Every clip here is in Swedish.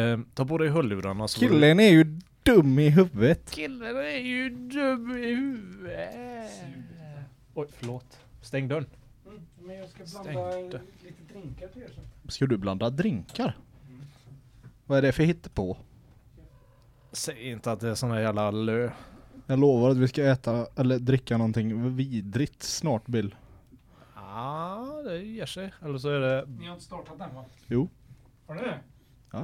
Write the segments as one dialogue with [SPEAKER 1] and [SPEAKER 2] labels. [SPEAKER 1] Eh, ta på dig hörlurarna så...
[SPEAKER 2] Killen är ju dum i huvudet.
[SPEAKER 1] Killen är ju dum i huvudet.
[SPEAKER 3] Oj, förlåt. Stäng dörren.
[SPEAKER 4] Men jag ska blanda
[SPEAKER 1] Stängt.
[SPEAKER 4] lite drinkar till er sen.
[SPEAKER 2] Ska du blanda drinkar? Vad är det för hittepå?
[SPEAKER 1] Säg inte att det är sån här jävla lö.
[SPEAKER 2] Jag lovar att vi ska äta eller dricka någonting vidrigt snart Bill.
[SPEAKER 1] Ja, det ger sig. Eller så är det...
[SPEAKER 4] Ni har inte startat den va?
[SPEAKER 2] Jo.
[SPEAKER 4] Har ni det?
[SPEAKER 2] Ja.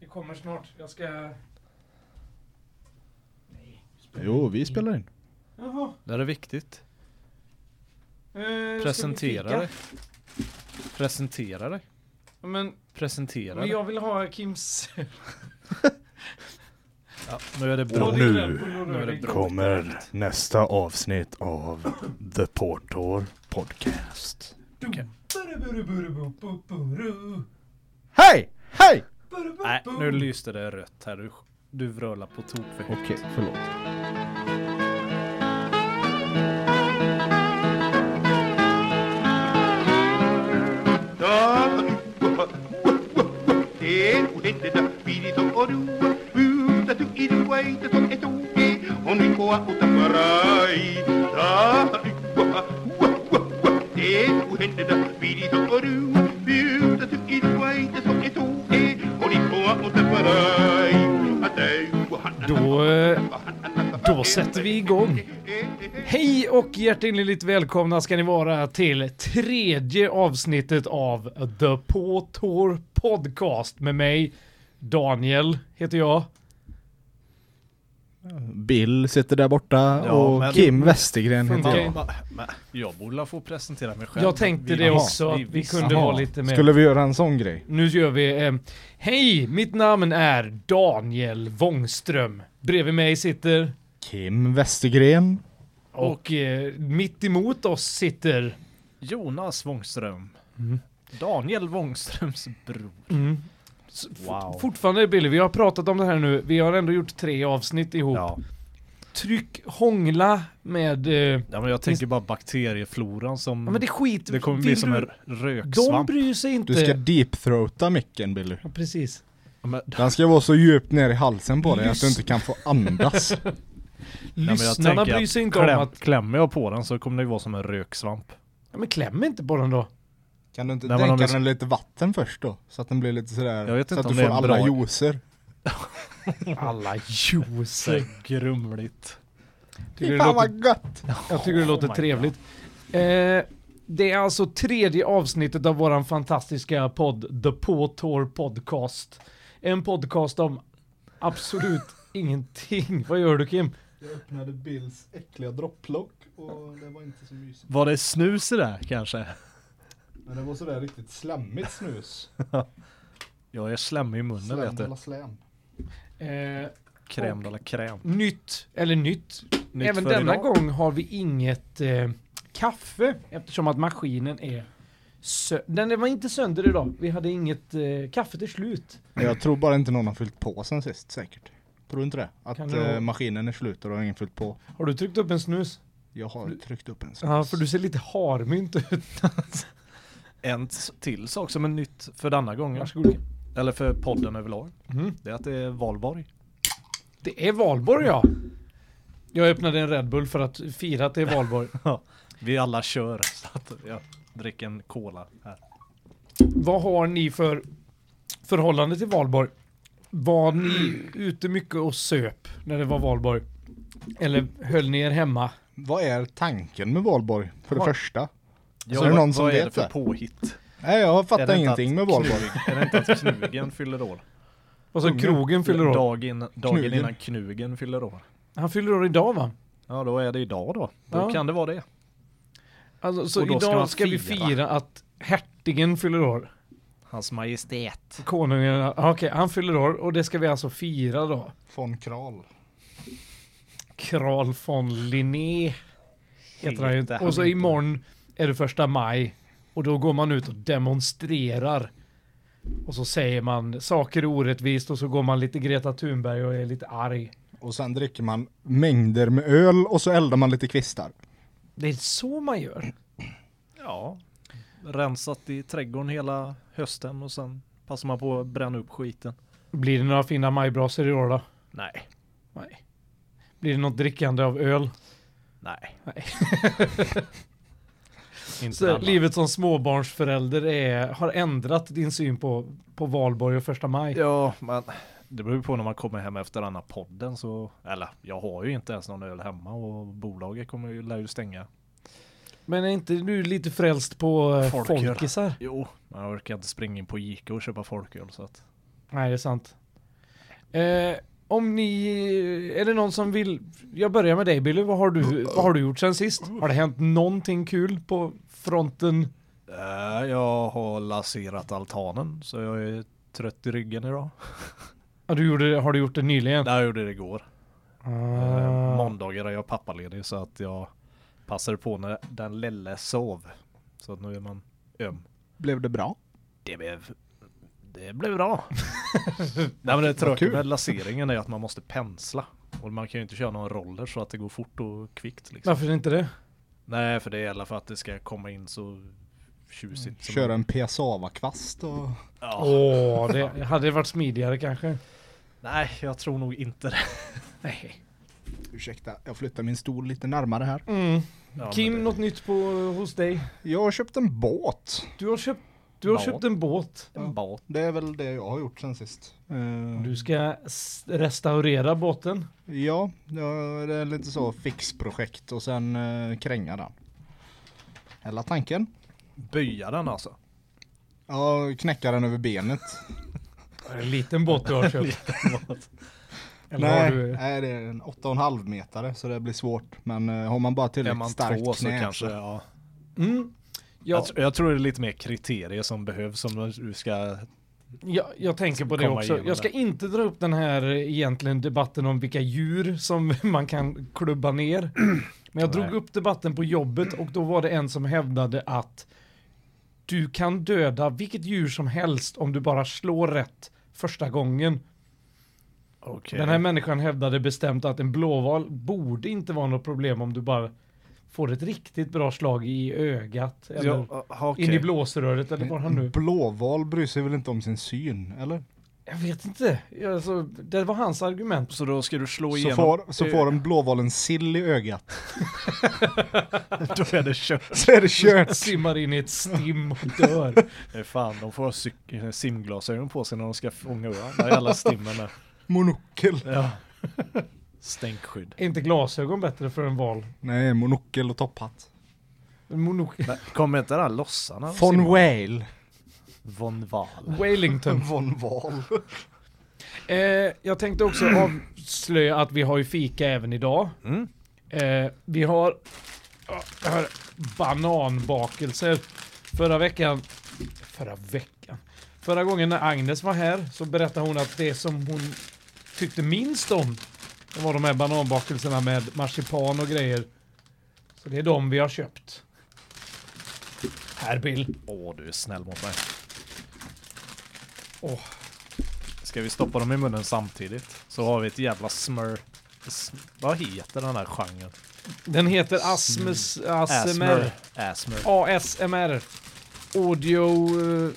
[SPEAKER 4] Det kommer snart. Jag ska... Nej.
[SPEAKER 2] Jo, vi spelar in.
[SPEAKER 4] Jaha.
[SPEAKER 1] Det är viktigt.
[SPEAKER 4] Eh,
[SPEAKER 1] Presentera
[SPEAKER 4] ska vi
[SPEAKER 1] dig. Presentera dig.
[SPEAKER 4] fika? Men,
[SPEAKER 1] Presentera
[SPEAKER 4] men
[SPEAKER 1] dig.
[SPEAKER 4] jag vill ha Kims...
[SPEAKER 1] Ja, nu är det bra.
[SPEAKER 2] Och
[SPEAKER 4] Ja,
[SPEAKER 2] nu
[SPEAKER 4] det är den. Bull och
[SPEAKER 1] nu är det
[SPEAKER 4] röding.
[SPEAKER 1] bra.
[SPEAKER 2] Kommer nästa avsnitt av The Portor Podcast.
[SPEAKER 4] Dum. Buru, buru, buru, bu, bu, buru.
[SPEAKER 2] Hej! Hej!
[SPEAKER 4] Buru, bu,
[SPEAKER 1] Nej,
[SPEAKER 4] bu.
[SPEAKER 1] nu lyste det rött här. Du, du vrölar på tok för högt.
[SPEAKER 2] Okej, förlåt.
[SPEAKER 3] Då, eh, då sätter vi igång.
[SPEAKER 4] Hej och hjärtinnerligt välkomna ska ni vara till tredje avsnittet av The På Tour Podcast med mig, Daniel heter jag.
[SPEAKER 2] Bill sitter där borta
[SPEAKER 1] Ja,
[SPEAKER 2] och
[SPEAKER 1] men-
[SPEAKER 2] Kim Westergren heter
[SPEAKER 4] Funkar
[SPEAKER 2] jag.
[SPEAKER 4] Okej.
[SPEAKER 1] Ja, men jag borde få presentera mig själv.
[SPEAKER 4] Jag tänkte det
[SPEAKER 1] Vi-
[SPEAKER 4] också, att vi
[SPEAKER 1] visste-
[SPEAKER 4] kunde
[SPEAKER 1] Aha.
[SPEAKER 4] vara lite mer...
[SPEAKER 2] Skulle vi göra en sån grej?
[SPEAKER 4] Nu gör vi... Eh, Hej, mitt namn är Daniel Wångström. Bredvid mig sitter...
[SPEAKER 2] Kim Westergren.
[SPEAKER 4] Och eh, mitt emot oss sitter...
[SPEAKER 1] Jonas Wångström. Daniel Wångströms bror.
[SPEAKER 4] s-
[SPEAKER 1] Wow.
[SPEAKER 4] Fortfarande Billy, vi har pratat om det här nu. Vi har ändå gjort tre avsnitt ihop.
[SPEAKER 1] Ja.
[SPEAKER 4] Tryck, hångla med... Eh, ja
[SPEAKER 1] ja, men jag tänker bara bakteriefloran som...
[SPEAKER 4] men det skiter
[SPEAKER 1] det kommer
[SPEAKER 4] vill
[SPEAKER 1] bli som
[SPEAKER 4] du-
[SPEAKER 1] en
[SPEAKER 4] De
[SPEAKER 1] röksvamp.
[SPEAKER 4] bryr sig inte.
[SPEAKER 2] Du ska deepthroata micken Billy.
[SPEAKER 4] Ja, precis.
[SPEAKER 1] Ja, men,
[SPEAKER 2] Den ska vara så djupt ner i halsen på dig att du
[SPEAKER 4] Lyssna.
[SPEAKER 2] inte kan få andas.
[SPEAKER 1] Nej, men jag
[SPEAKER 4] Lyssnarna
[SPEAKER 1] tänker
[SPEAKER 4] bryr sig
[SPEAKER 1] att
[SPEAKER 4] inte
[SPEAKER 1] kläm,
[SPEAKER 4] om att...
[SPEAKER 1] Klämmer jag på den så kommer det ju vara som en röksvamp.
[SPEAKER 4] Ja, men kläm inte på den då.
[SPEAKER 2] Kan du inte
[SPEAKER 1] Nej, men
[SPEAKER 2] dränka
[SPEAKER 1] om vi-
[SPEAKER 2] den lite vatten först då? Så att den blir lite sådär,
[SPEAKER 1] Jag vet
[SPEAKER 2] så
[SPEAKER 1] inte
[SPEAKER 2] att
[SPEAKER 1] om det
[SPEAKER 2] du
[SPEAKER 1] är
[SPEAKER 2] får
[SPEAKER 1] en
[SPEAKER 2] alla
[SPEAKER 1] bra-
[SPEAKER 2] juicer.
[SPEAKER 4] Alla juicer.
[SPEAKER 1] Så grumligt.
[SPEAKER 4] Tycker du det
[SPEAKER 2] fan
[SPEAKER 4] låter
[SPEAKER 2] vad gött!
[SPEAKER 4] Jag tycker det
[SPEAKER 1] Oh
[SPEAKER 4] låter
[SPEAKER 1] my
[SPEAKER 4] trevligt. Eh, det är alltså tredje avsnittet av våran fantastiska podd The Påtår Podcast. En podcast om absolut ingenting. Vad gör du Kim?
[SPEAKER 2] Jag öppnade Bills äckliga dropplock och det var inte så mysigt.
[SPEAKER 1] Var det snus i det här, kanske?
[SPEAKER 2] Men det var sådär riktigt slemmigt snus.
[SPEAKER 1] Jag är slemmig i munnen vet du.
[SPEAKER 2] slem.
[SPEAKER 4] Eh,
[SPEAKER 1] Crème de la crème.
[SPEAKER 4] nytt, eller nytt.
[SPEAKER 1] Nytt
[SPEAKER 4] Även
[SPEAKER 1] för
[SPEAKER 4] denna
[SPEAKER 1] idag.
[SPEAKER 4] gång har vi inget eh, kaffe eftersom att maskinen är sö- Den var inte sönder idag. Vi hade inget eh, kaffe till slut.
[SPEAKER 2] Jag tror bara inte någon har fyllt på sen sist säkert. Tror du inte det? Att
[SPEAKER 4] Kan det-
[SPEAKER 2] eh, maskinen är slut och då har ingen fyllt på.
[SPEAKER 4] Har du tryckt upp en snus?
[SPEAKER 2] Jag har tryckt upp en snus.
[SPEAKER 4] Ja, för du ser lite harmynt ut.
[SPEAKER 1] En t- till sak som är nytt för denna gången.
[SPEAKER 4] Varsågod Kim.
[SPEAKER 1] Eller för podden överlag.
[SPEAKER 4] Mm.
[SPEAKER 1] Det är att det är valborg.
[SPEAKER 4] Det är valborg ja. Jag öppnade en Red Bull för att fira att det är valborg.
[SPEAKER 1] Vi alla kör. Så att jag dricker en cola här.
[SPEAKER 4] Vad har ni för förhållande till valborg? Var ni ute mycket och söp när det var valborg? Eller höll ni er hemma?
[SPEAKER 2] Vad är tanken med valborg? För det
[SPEAKER 4] Vad-
[SPEAKER 2] första.
[SPEAKER 1] Ja,
[SPEAKER 2] är det
[SPEAKER 1] vad-
[SPEAKER 2] någon som
[SPEAKER 1] vad är det
[SPEAKER 2] vet
[SPEAKER 1] för
[SPEAKER 2] det?
[SPEAKER 1] påhitt?
[SPEAKER 2] Nej jag
[SPEAKER 1] Är
[SPEAKER 2] fattar
[SPEAKER 1] det inte
[SPEAKER 2] ingenting
[SPEAKER 1] att
[SPEAKER 2] med valborg.
[SPEAKER 1] Knug, är det inte att knugen fyller år?
[SPEAKER 4] Och så krogen fyller år.
[SPEAKER 1] Dag in, dagen
[SPEAKER 2] Knugen.
[SPEAKER 1] innan knugen fyller år.
[SPEAKER 4] Han fyller år idag va?
[SPEAKER 1] Ja, då är det idag då. Då
[SPEAKER 4] Ja.
[SPEAKER 1] kan det vara det.
[SPEAKER 4] Alltså, så
[SPEAKER 1] Och då
[SPEAKER 4] idag
[SPEAKER 1] ska
[SPEAKER 4] ska,
[SPEAKER 1] man
[SPEAKER 4] vi
[SPEAKER 1] fira.
[SPEAKER 4] fira att hertigen fyller år.
[SPEAKER 1] Hans majestät.
[SPEAKER 4] Konungen, ja, okej han fyller år och det ska vi alltså fira då.
[SPEAKER 2] Von Kral.
[SPEAKER 4] Carl von Linné heter han ju inte.
[SPEAKER 1] Heter han
[SPEAKER 4] Och så
[SPEAKER 1] inte.
[SPEAKER 4] imorgon är det första maj och då går man ut och demonstrerar. Och så säger man saker är orättvist och så går man lite Greta Thunberg och är lite arg.
[SPEAKER 2] Och sen dricker man mängder med öl och så eldar man lite kvistar.
[SPEAKER 4] Det är så man gör.
[SPEAKER 1] Ja. Rensat i trädgården hela hösten och sen passar man på att bränna upp skiten.
[SPEAKER 4] Blir det några fina majbrasor i år då?
[SPEAKER 1] Nej.
[SPEAKER 4] Nej. Blir det något drickande av öl?
[SPEAKER 1] Nej.
[SPEAKER 3] Inte
[SPEAKER 4] Så
[SPEAKER 3] alla.
[SPEAKER 4] livet som småbarnsförälder är, har ändrat din syn på, på valborg och första maj?
[SPEAKER 1] Ja, men det beror ju på när man kommer hem efter denna podden så, eller jag har ju inte ens någon öl hemma och bolaget kommer ju, lär ju stänga.
[SPEAKER 4] Men är inte du lite frälst på eh,
[SPEAKER 1] Folköl.
[SPEAKER 4] folkisar?
[SPEAKER 1] Jo, men jag orkar inte springa in på Ica och köpa folköl så att.
[SPEAKER 4] Nej, det är sant. Eh, om ni... Är det någon som vill... Jag börjar med dig Billy, vad har du, vad har du gjort sen sist? Har det hänt någonting kul på fronten?
[SPEAKER 1] Eh, jag har laserat altanen så jag är trött i ryggen idag.
[SPEAKER 4] Ja, du gjorde, det- har du gjort det nyligen?
[SPEAKER 1] Det här gjorde det igår.
[SPEAKER 2] Eh.
[SPEAKER 1] Uh.
[SPEAKER 4] Ah,
[SPEAKER 1] Måndagar är jag pappaledig så att jag passade på när den lille sov. Så att nu är man öm.
[SPEAKER 2] Blev det bra?
[SPEAKER 1] Det blev, det blev bra. Nej men det tråkiga
[SPEAKER 2] kul.
[SPEAKER 1] med laseringen är att man måste pensla. Och man kan ju inte köra någon roller så att det går fort och kvickt liksom.
[SPEAKER 4] varför inte det?
[SPEAKER 1] Nej för det gäller för att det ska komma in så tjusigt. som
[SPEAKER 2] Köra en piassava-kvast och...
[SPEAKER 1] Ja.
[SPEAKER 4] Åh, det hade varit smidigare kanske.
[SPEAKER 1] Nej jag tror nog inte det.
[SPEAKER 4] Nej.
[SPEAKER 2] Ursäkta, jag flyttar min stol lite närmare här.
[SPEAKER 4] Mm.
[SPEAKER 1] Ja, men
[SPEAKER 4] Kim,
[SPEAKER 1] det-
[SPEAKER 4] något nytt på, hos dig?
[SPEAKER 2] Jag har köpt en båt.
[SPEAKER 4] Du har köpt, du har
[SPEAKER 1] Ja.
[SPEAKER 4] köpt en båt.
[SPEAKER 1] En båt.
[SPEAKER 2] Det är väl det jag har gjort sen sist. Eh,
[SPEAKER 4] Du ska s- restaurera båten.
[SPEAKER 2] Ja, ja, det är lite så fixprojekt och sen eh, kränga den. Hela tanken.
[SPEAKER 1] Böja den alltså.
[SPEAKER 2] Ja, knäcka den över benet.
[SPEAKER 4] Det är en liten båt du har köpt. Eller har
[SPEAKER 2] Nej,
[SPEAKER 4] du...
[SPEAKER 2] nej, det är en 8,5 metare så det blir svårt. Men eh, har man bara
[SPEAKER 1] Är
[SPEAKER 2] tillräckligt
[SPEAKER 1] man
[SPEAKER 2] starkt
[SPEAKER 1] två
[SPEAKER 2] knä.
[SPEAKER 1] så kanske ja.
[SPEAKER 4] Mm. Ja.
[SPEAKER 1] Jag, tr- jag tror det är lite mer kriterier som behövs om du ska...
[SPEAKER 4] Jag, jag tänker på det
[SPEAKER 1] komma
[SPEAKER 4] också.
[SPEAKER 1] igenom
[SPEAKER 4] Jag ska
[SPEAKER 1] det.
[SPEAKER 4] inte dra upp den här eh, egentligen debatten om vilka djur som man kan klubba ner. Men jag drog
[SPEAKER 1] Nej.
[SPEAKER 4] upp debatten på jobbet och då var det en som hävdade att du kan döda vilket djur som helst om du bara slår rätt första gången.
[SPEAKER 1] Okej.
[SPEAKER 4] Den här människan hävdade bestämt att en blåval borde inte vara något problem om du bara får ett riktigt bra slag i ögat eller
[SPEAKER 1] Ja, aha, okej.
[SPEAKER 4] in i blåsröret eller var han nu?
[SPEAKER 2] En Blåval bryr sig väl inte om sin syn, eller?
[SPEAKER 4] Jag vet inte. Jag- Alltså, det var hans argument.
[SPEAKER 1] Så då ska du slå
[SPEAKER 2] Så
[SPEAKER 1] igenom...
[SPEAKER 2] får, så får en blåval en sill i ögat.
[SPEAKER 1] Då är det kört.
[SPEAKER 2] Så är det kört!
[SPEAKER 4] Simmar in i ett stim och dör.
[SPEAKER 1] Nej, fan, de får ha cyk- simglasögon på sig när de ska fånga öar. Där är alla stimmen där.
[SPEAKER 2] Monokel.
[SPEAKER 1] Ja. Stänkskydd.
[SPEAKER 4] är inte glasögon bättre för en val?
[SPEAKER 2] Nej, monokel och topphatt.
[SPEAKER 4] En Monok
[SPEAKER 1] Men Kommer inte där lossarna? och
[SPEAKER 2] Von
[SPEAKER 1] simmar?
[SPEAKER 2] Whale.
[SPEAKER 1] Von Wahl.
[SPEAKER 4] Wellington.
[SPEAKER 2] Von Val.
[SPEAKER 4] Eh, jag tänkte också avslöja att vi har ju fika även idag.
[SPEAKER 1] Mm.
[SPEAKER 4] Eh, vi har ja, jag har bananbakelser. Förra veckan... Förra veckan? Förra gången när Agnes var här så berättade hon att det som hon tyckte minst om det var de här bananbakelserna med marsipan och grejer. Så det är de vi har köpt. Här Bill.
[SPEAKER 1] Åh, du är snäll mot mig.
[SPEAKER 4] Åh.
[SPEAKER 1] Ska vi stoppa dem i munnen samtidigt? Så har vi ett jävla smör... Sm- Vad heter den här genren?
[SPEAKER 4] Den heter Asmus, ASMR.
[SPEAKER 1] Asmer.
[SPEAKER 4] ASMR. Audio... eh,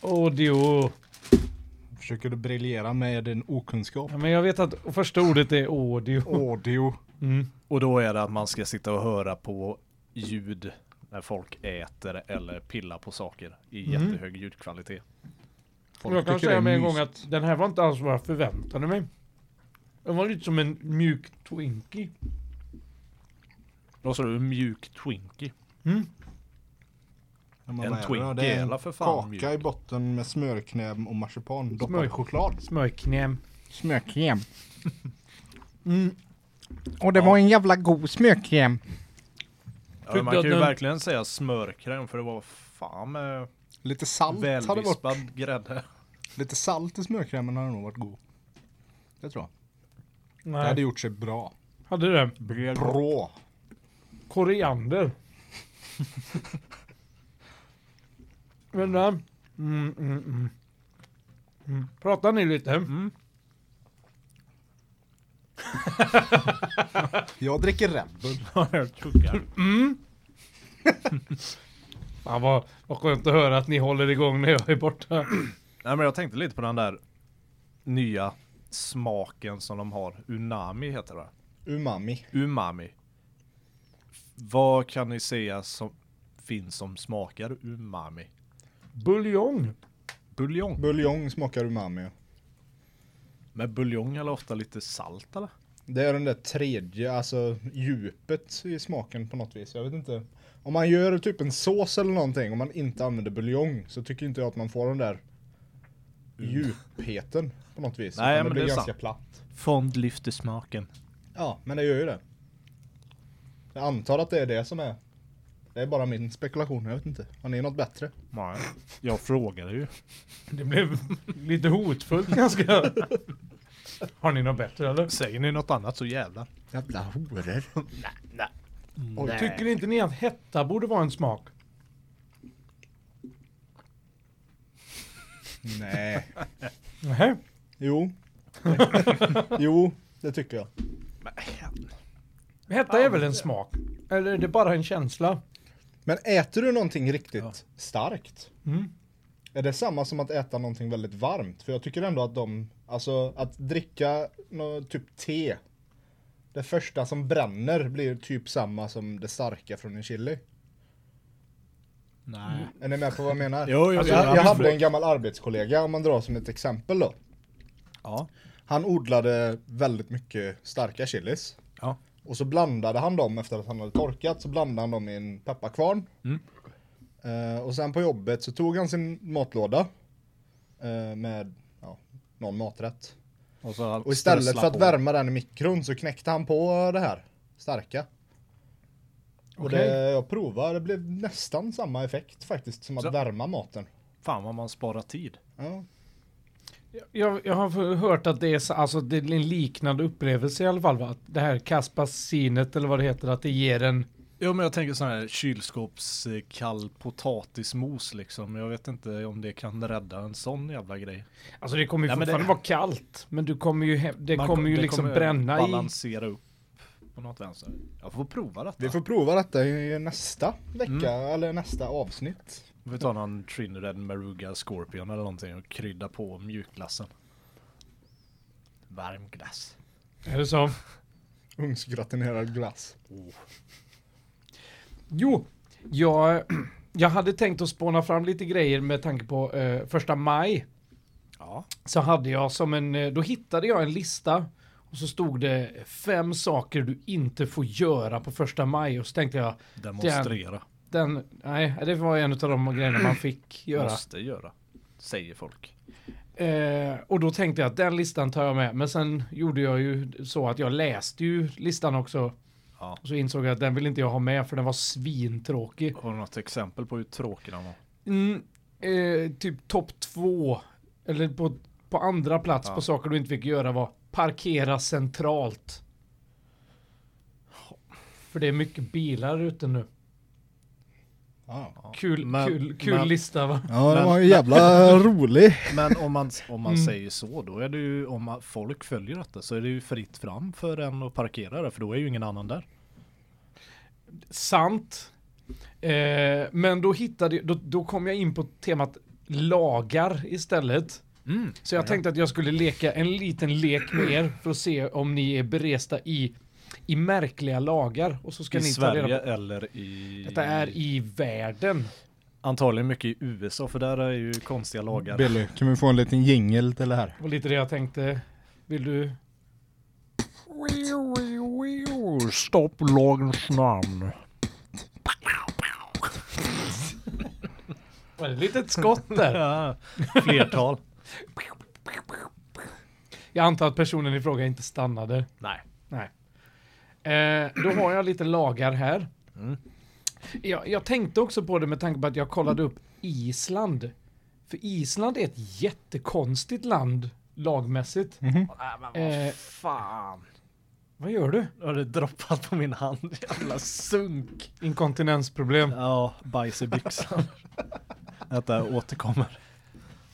[SPEAKER 4] Audio...
[SPEAKER 2] Försöker du briljera med din okunskap?
[SPEAKER 4] Ja, men jag vet att första ordet är audio.
[SPEAKER 2] Audio.
[SPEAKER 4] Mm.
[SPEAKER 1] Och då är det att man ska sitta och höra på ljud när folk äter eller pillar på saker i
[SPEAKER 4] Mm.
[SPEAKER 1] jättehög ljudkvalitet.
[SPEAKER 2] Folk
[SPEAKER 4] Jag kan
[SPEAKER 2] tycker det
[SPEAKER 4] säga
[SPEAKER 2] är
[SPEAKER 4] med en gång
[SPEAKER 2] mysigt.
[SPEAKER 4] att den här var inte alls vad jag förväntade mig. Den var lite som en mjuk Twinkie.
[SPEAKER 1] Vad sa du? Mjuk Twinkie?
[SPEAKER 2] Ja, men
[SPEAKER 1] en
[SPEAKER 2] vad är det
[SPEAKER 1] Twinkie
[SPEAKER 2] då? Det är
[SPEAKER 1] eller
[SPEAKER 2] en
[SPEAKER 1] för fan
[SPEAKER 2] kaka
[SPEAKER 1] mjuk?
[SPEAKER 2] i botten med smörknäm och marsipan. Doppad
[SPEAKER 4] Smör-
[SPEAKER 2] i choklad.
[SPEAKER 4] Smörknäm.
[SPEAKER 2] Smörknäm.
[SPEAKER 4] Mm.
[SPEAKER 2] Och det
[SPEAKER 1] var
[SPEAKER 2] en jävla god smörknäm.
[SPEAKER 1] Ja,
[SPEAKER 4] Tyckte
[SPEAKER 1] man kan
[SPEAKER 4] att
[SPEAKER 1] ju
[SPEAKER 4] den-
[SPEAKER 1] verkligen säga smörkräm för det var fan med
[SPEAKER 2] Lite salt hade varit.
[SPEAKER 1] välvispad grädde.
[SPEAKER 2] Lite salt i smörkrämen hade nog varit god. Det tror jag. Det hade
[SPEAKER 4] Nej.
[SPEAKER 2] gjort sig bra.
[SPEAKER 4] Hade det.
[SPEAKER 2] Bra.
[SPEAKER 4] Koriander. Men där. Mm, mm, mm. Mm. Pratar ni lite?
[SPEAKER 2] Mm. Jag dricker Red Bull.
[SPEAKER 1] Jag tuggar.
[SPEAKER 4] Fan vad, vad skönt att höra att ni håller igång när jag är borta.
[SPEAKER 1] Nej men jag tänkte lite på den där nya smaken som de har. Unami heter det.
[SPEAKER 2] Umami.
[SPEAKER 1] Umami. Vad kan ni säga som finns som smakar umami?
[SPEAKER 4] Buljong.
[SPEAKER 1] Buljong.
[SPEAKER 2] Buljong smakar umami. ja.
[SPEAKER 1] Men buljong är ofta lite salt eller?
[SPEAKER 2] Det är den där tredje, alltså djupet i smaken på något vis. Jag vet inte. Om man gör typ en sås eller någonting och man inte använder buljong så tycker inte jag att man får den där djupheten på något vis.
[SPEAKER 1] Mm. Nej,
[SPEAKER 2] Utan
[SPEAKER 1] men
[SPEAKER 2] det blir
[SPEAKER 1] det är
[SPEAKER 2] ganska
[SPEAKER 1] sant.
[SPEAKER 2] platt.
[SPEAKER 1] Fond lyfter smaken.
[SPEAKER 2] Ja, men det gör ju det. Jag antar att det är det som är. Det är bara min spekulation, jag vet inte. Har ni något bättre?
[SPEAKER 1] Nej, jag frågade ju.
[SPEAKER 4] Det blev lite hotfullt ganska. Har ni något bättre eller?
[SPEAKER 1] Säger ni något annat så jävlar.
[SPEAKER 2] Jävla horor.
[SPEAKER 4] Oj, Tycker inte ni att hetta borde vara en smak?
[SPEAKER 2] Nej.
[SPEAKER 4] Nej.
[SPEAKER 2] Jo. jo, det tycker jag.
[SPEAKER 4] Hetta är väl en smak? Eller är det bara en känsla?
[SPEAKER 2] Men äter du någonting riktigt starkt?
[SPEAKER 4] Mm.
[SPEAKER 2] Är det samma som att äta någonting väldigt varmt? För jag tycker ändå att de, alltså att dricka nå- typ te. Det första som bränner blir typ samma som det starka från en chili.
[SPEAKER 1] Nej.
[SPEAKER 2] Är ni med på vad jag menar?
[SPEAKER 1] Jo, jo,
[SPEAKER 2] alltså,
[SPEAKER 1] jo,
[SPEAKER 2] jag, jag
[SPEAKER 1] absolut.
[SPEAKER 2] hade en gammal arbetskollega, om man drar som ett exempel då.
[SPEAKER 1] Ja.
[SPEAKER 2] Han odlade väldigt mycket starka chilis.
[SPEAKER 1] Ja.
[SPEAKER 2] Och så blandade han dem efter att han hade torkat, så blandade han dem i en pepparkvarn.
[SPEAKER 1] Mm.
[SPEAKER 2] Eh, och sen på jobbet så tog han sin matlåda eh, med ja, någon maträtt.
[SPEAKER 1] Och, så
[SPEAKER 2] Och istället
[SPEAKER 1] strössla
[SPEAKER 2] för att
[SPEAKER 1] på.
[SPEAKER 2] värma den i mikron så knäckte han på det här starka. Och
[SPEAKER 4] Okej.
[SPEAKER 2] det jag provade, det blev nästan samma effekt faktiskt som att
[SPEAKER 1] Så-
[SPEAKER 2] värma maten.
[SPEAKER 1] Fan vad man sparar tid.
[SPEAKER 2] Ja.
[SPEAKER 4] Jag, jag har hört att det är, så- alltså, det är en liknande upplevelse i alla fall va? Att det här kaspasinet eller vad det heter, att det ger en...
[SPEAKER 1] Jo men jag tänker sån här kylskåpskall potatismos liksom. Jag vet inte om det kan rädda en sån jävla grej.
[SPEAKER 4] Alltså det kommer ju
[SPEAKER 1] Nej, men det-
[SPEAKER 4] fortfarande vara kallt, men du kommer ju, he- det
[SPEAKER 1] Man
[SPEAKER 4] kommer ju
[SPEAKER 1] det
[SPEAKER 4] liksom bränna i...
[SPEAKER 1] balansera upp på något vänster. Jag får prova detta.
[SPEAKER 2] Vi får prova detta i nästa vecka, eller nästa avsnitt.
[SPEAKER 1] Vi tar någon Trinidad Maruga Scorpion eller någonting och krydda på mjukglassen. Varm glass.
[SPEAKER 4] Är det så?
[SPEAKER 2] Ugnsgratinerad glass.
[SPEAKER 4] Jo, jag, jag hade tänkt att spåna fram lite grejer med tanke på eh, första maj.
[SPEAKER 1] Ja.
[SPEAKER 4] så hade jag som en, eh, då hittade jag en lista och så stod det fem saker du inte får göra på första maj och så tänkte jag,
[SPEAKER 1] Demonstrera.
[SPEAKER 4] den, nej det var en av de grejerna man fick göra.
[SPEAKER 1] Måste göra. Säger folk.
[SPEAKER 4] Eh, och då tänkte jag att den listan tar jag med, men sen gjorde jag ju så att jag läste ju listan också.
[SPEAKER 1] Ja.
[SPEAKER 4] Och så insåg jag att den vill inte jag ha med för den var svintråkig.
[SPEAKER 1] Har du något exempel på hur tråkig den var?
[SPEAKER 4] Mm, eh, typ topp två, eller på, på andra plats
[SPEAKER 1] Ja.
[SPEAKER 4] på saker du inte fick göra var parkera centralt. För det är mycket bilar ute nu.
[SPEAKER 2] Ja.
[SPEAKER 4] Kul,
[SPEAKER 1] Men-
[SPEAKER 4] kul, kul
[SPEAKER 1] men-
[SPEAKER 4] lista va?
[SPEAKER 2] Ja,
[SPEAKER 1] Men-
[SPEAKER 2] den var ju jävla rolig.
[SPEAKER 1] Men om man, om man
[SPEAKER 4] Mm.
[SPEAKER 1] säger så, då är det ju om man, folk följer detta så är det ju fritt fram för en att parkera där, för då är ju ingen annan där.
[SPEAKER 4] Sant. Eh, men då hittade då, då kom jag in på temat lagar istället.
[SPEAKER 1] Mm.
[SPEAKER 4] Så jag tänkte att jag skulle leka en liten lek med er för att se om ni är beresta i, i märkliga lagar. Och så ska
[SPEAKER 1] I
[SPEAKER 4] ni ta
[SPEAKER 1] Sverige
[SPEAKER 4] reda på.
[SPEAKER 1] eller i...
[SPEAKER 4] Detta är i världen.
[SPEAKER 1] Antagligen mycket i USA, för där är ju konstiga lagar.
[SPEAKER 2] Billy, kan vi få en liten jingel till det här?
[SPEAKER 4] Det var lite det jag tänkte. Vill du?
[SPEAKER 1] Stopp lagens namn.
[SPEAKER 4] Var det ett litet skott där?
[SPEAKER 1] Ja, flertal.
[SPEAKER 4] Jag antar att personen i fråga inte stannade.
[SPEAKER 1] Nej.
[SPEAKER 4] Nej. Eh, då har jag lite lagar här.
[SPEAKER 1] Mm.
[SPEAKER 4] Jag, jag tänkte också på det med tanke på att jag kollade upp Island. För Island är ett jättekonstigt land lagmässigt.
[SPEAKER 1] Mhm.
[SPEAKER 4] Eh,
[SPEAKER 1] Fan.
[SPEAKER 4] vad gör du?
[SPEAKER 1] Nu har det droppat på min hand. Jävla sunk.
[SPEAKER 4] Inkontinensproblem.
[SPEAKER 1] Ja, bajs i byxan. Detta återkommer.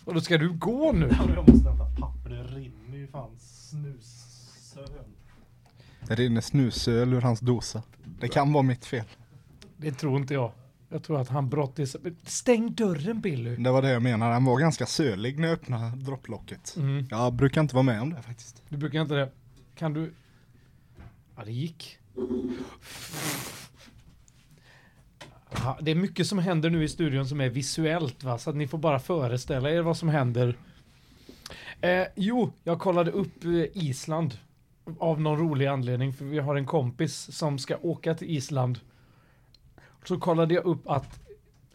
[SPEAKER 4] Och då ska du gå nu.
[SPEAKER 1] Jag måste hämta papper, det rinner ju fan snussöl.
[SPEAKER 2] Det rinner snusöl ur hans dosa. Det kan vara mitt fel.
[SPEAKER 4] Det tror inte jag. Jag tror att han brottis... Stäng dörren Billy!
[SPEAKER 2] Det var det jag menade, han var ganska sölig när jag öppnade dropplocket.
[SPEAKER 4] Mm.
[SPEAKER 2] Jag brukar inte vara med om det faktiskt.
[SPEAKER 4] Du brukar inte det. Kan du... Ja, det gick. Ja, Det är mycket som händer nu i studion som är visuellt va, så att ni får bara föreställa er vad som händer. Eh, jo, jag kollade upp eh, Island. Av någon rolig anledning, för vi har en kompis som ska åka till Island. Så kollade jag upp att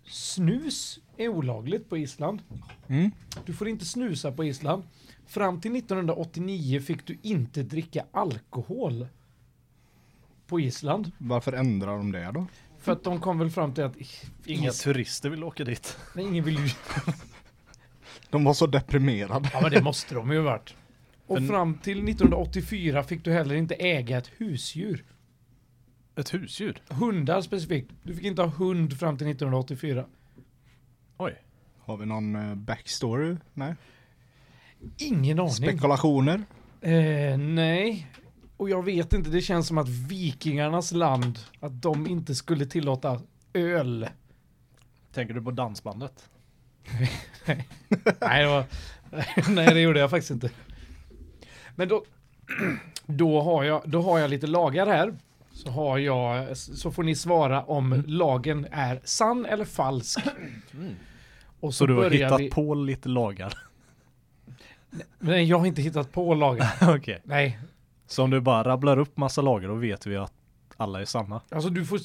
[SPEAKER 4] snus är olagligt på Island.
[SPEAKER 2] Mm.
[SPEAKER 4] Du får inte snusa på Island. Fram till 1989 fick du inte dricka alkohol på Island.
[SPEAKER 2] Varför ändrar de det då?
[SPEAKER 4] För att de kom väl fram till att
[SPEAKER 1] Inga
[SPEAKER 4] Is-
[SPEAKER 1] turister vill åka dit.
[SPEAKER 4] nej, ingen vill ju...
[SPEAKER 2] De var så deprimerade.
[SPEAKER 4] Ja men det måste de ju ha varit. Och
[SPEAKER 1] Men-
[SPEAKER 4] fram till 1984 fick du heller inte äga ett husdjur.
[SPEAKER 1] Ett husdjur?
[SPEAKER 4] Hundar specifikt. Du fick inte ha hund fram till 1984.
[SPEAKER 1] Oj.
[SPEAKER 2] Har vi någon eh, backstory? Nej.
[SPEAKER 4] Ingen aning.
[SPEAKER 2] Spekulationer?
[SPEAKER 4] Eh, nej. Och jag vet inte, det känns som att vikingarnas land, att de inte skulle tillåta öl.
[SPEAKER 1] Tänker du på dansbandet?
[SPEAKER 4] Nej det, var, nej, det gjorde jag faktiskt inte. Men då, då, har jag, då har jag lite lagar här. Så, har jag, så får ni svara om
[SPEAKER 1] Mm.
[SPEAKER 4] lagen är sann eller falsk. Och så,
[SPEAKER 1] Så du har
[SPEAKER 4] börjar
[SPEAKER 1] hittat
[SPEAKER 4] vi...
[SPEAKER 1] på lite lagar?
[SPEAKER 4] Nej, jag har inte hittat på lagen.
[SPEAKER 1] Okej.
[SPEAKER 4] Nej,
[SPEAKER 1] Så om du bara rabblar upp massa lagar då vet vi att alla är sanna.
[SPEAKER 4] alltså du får,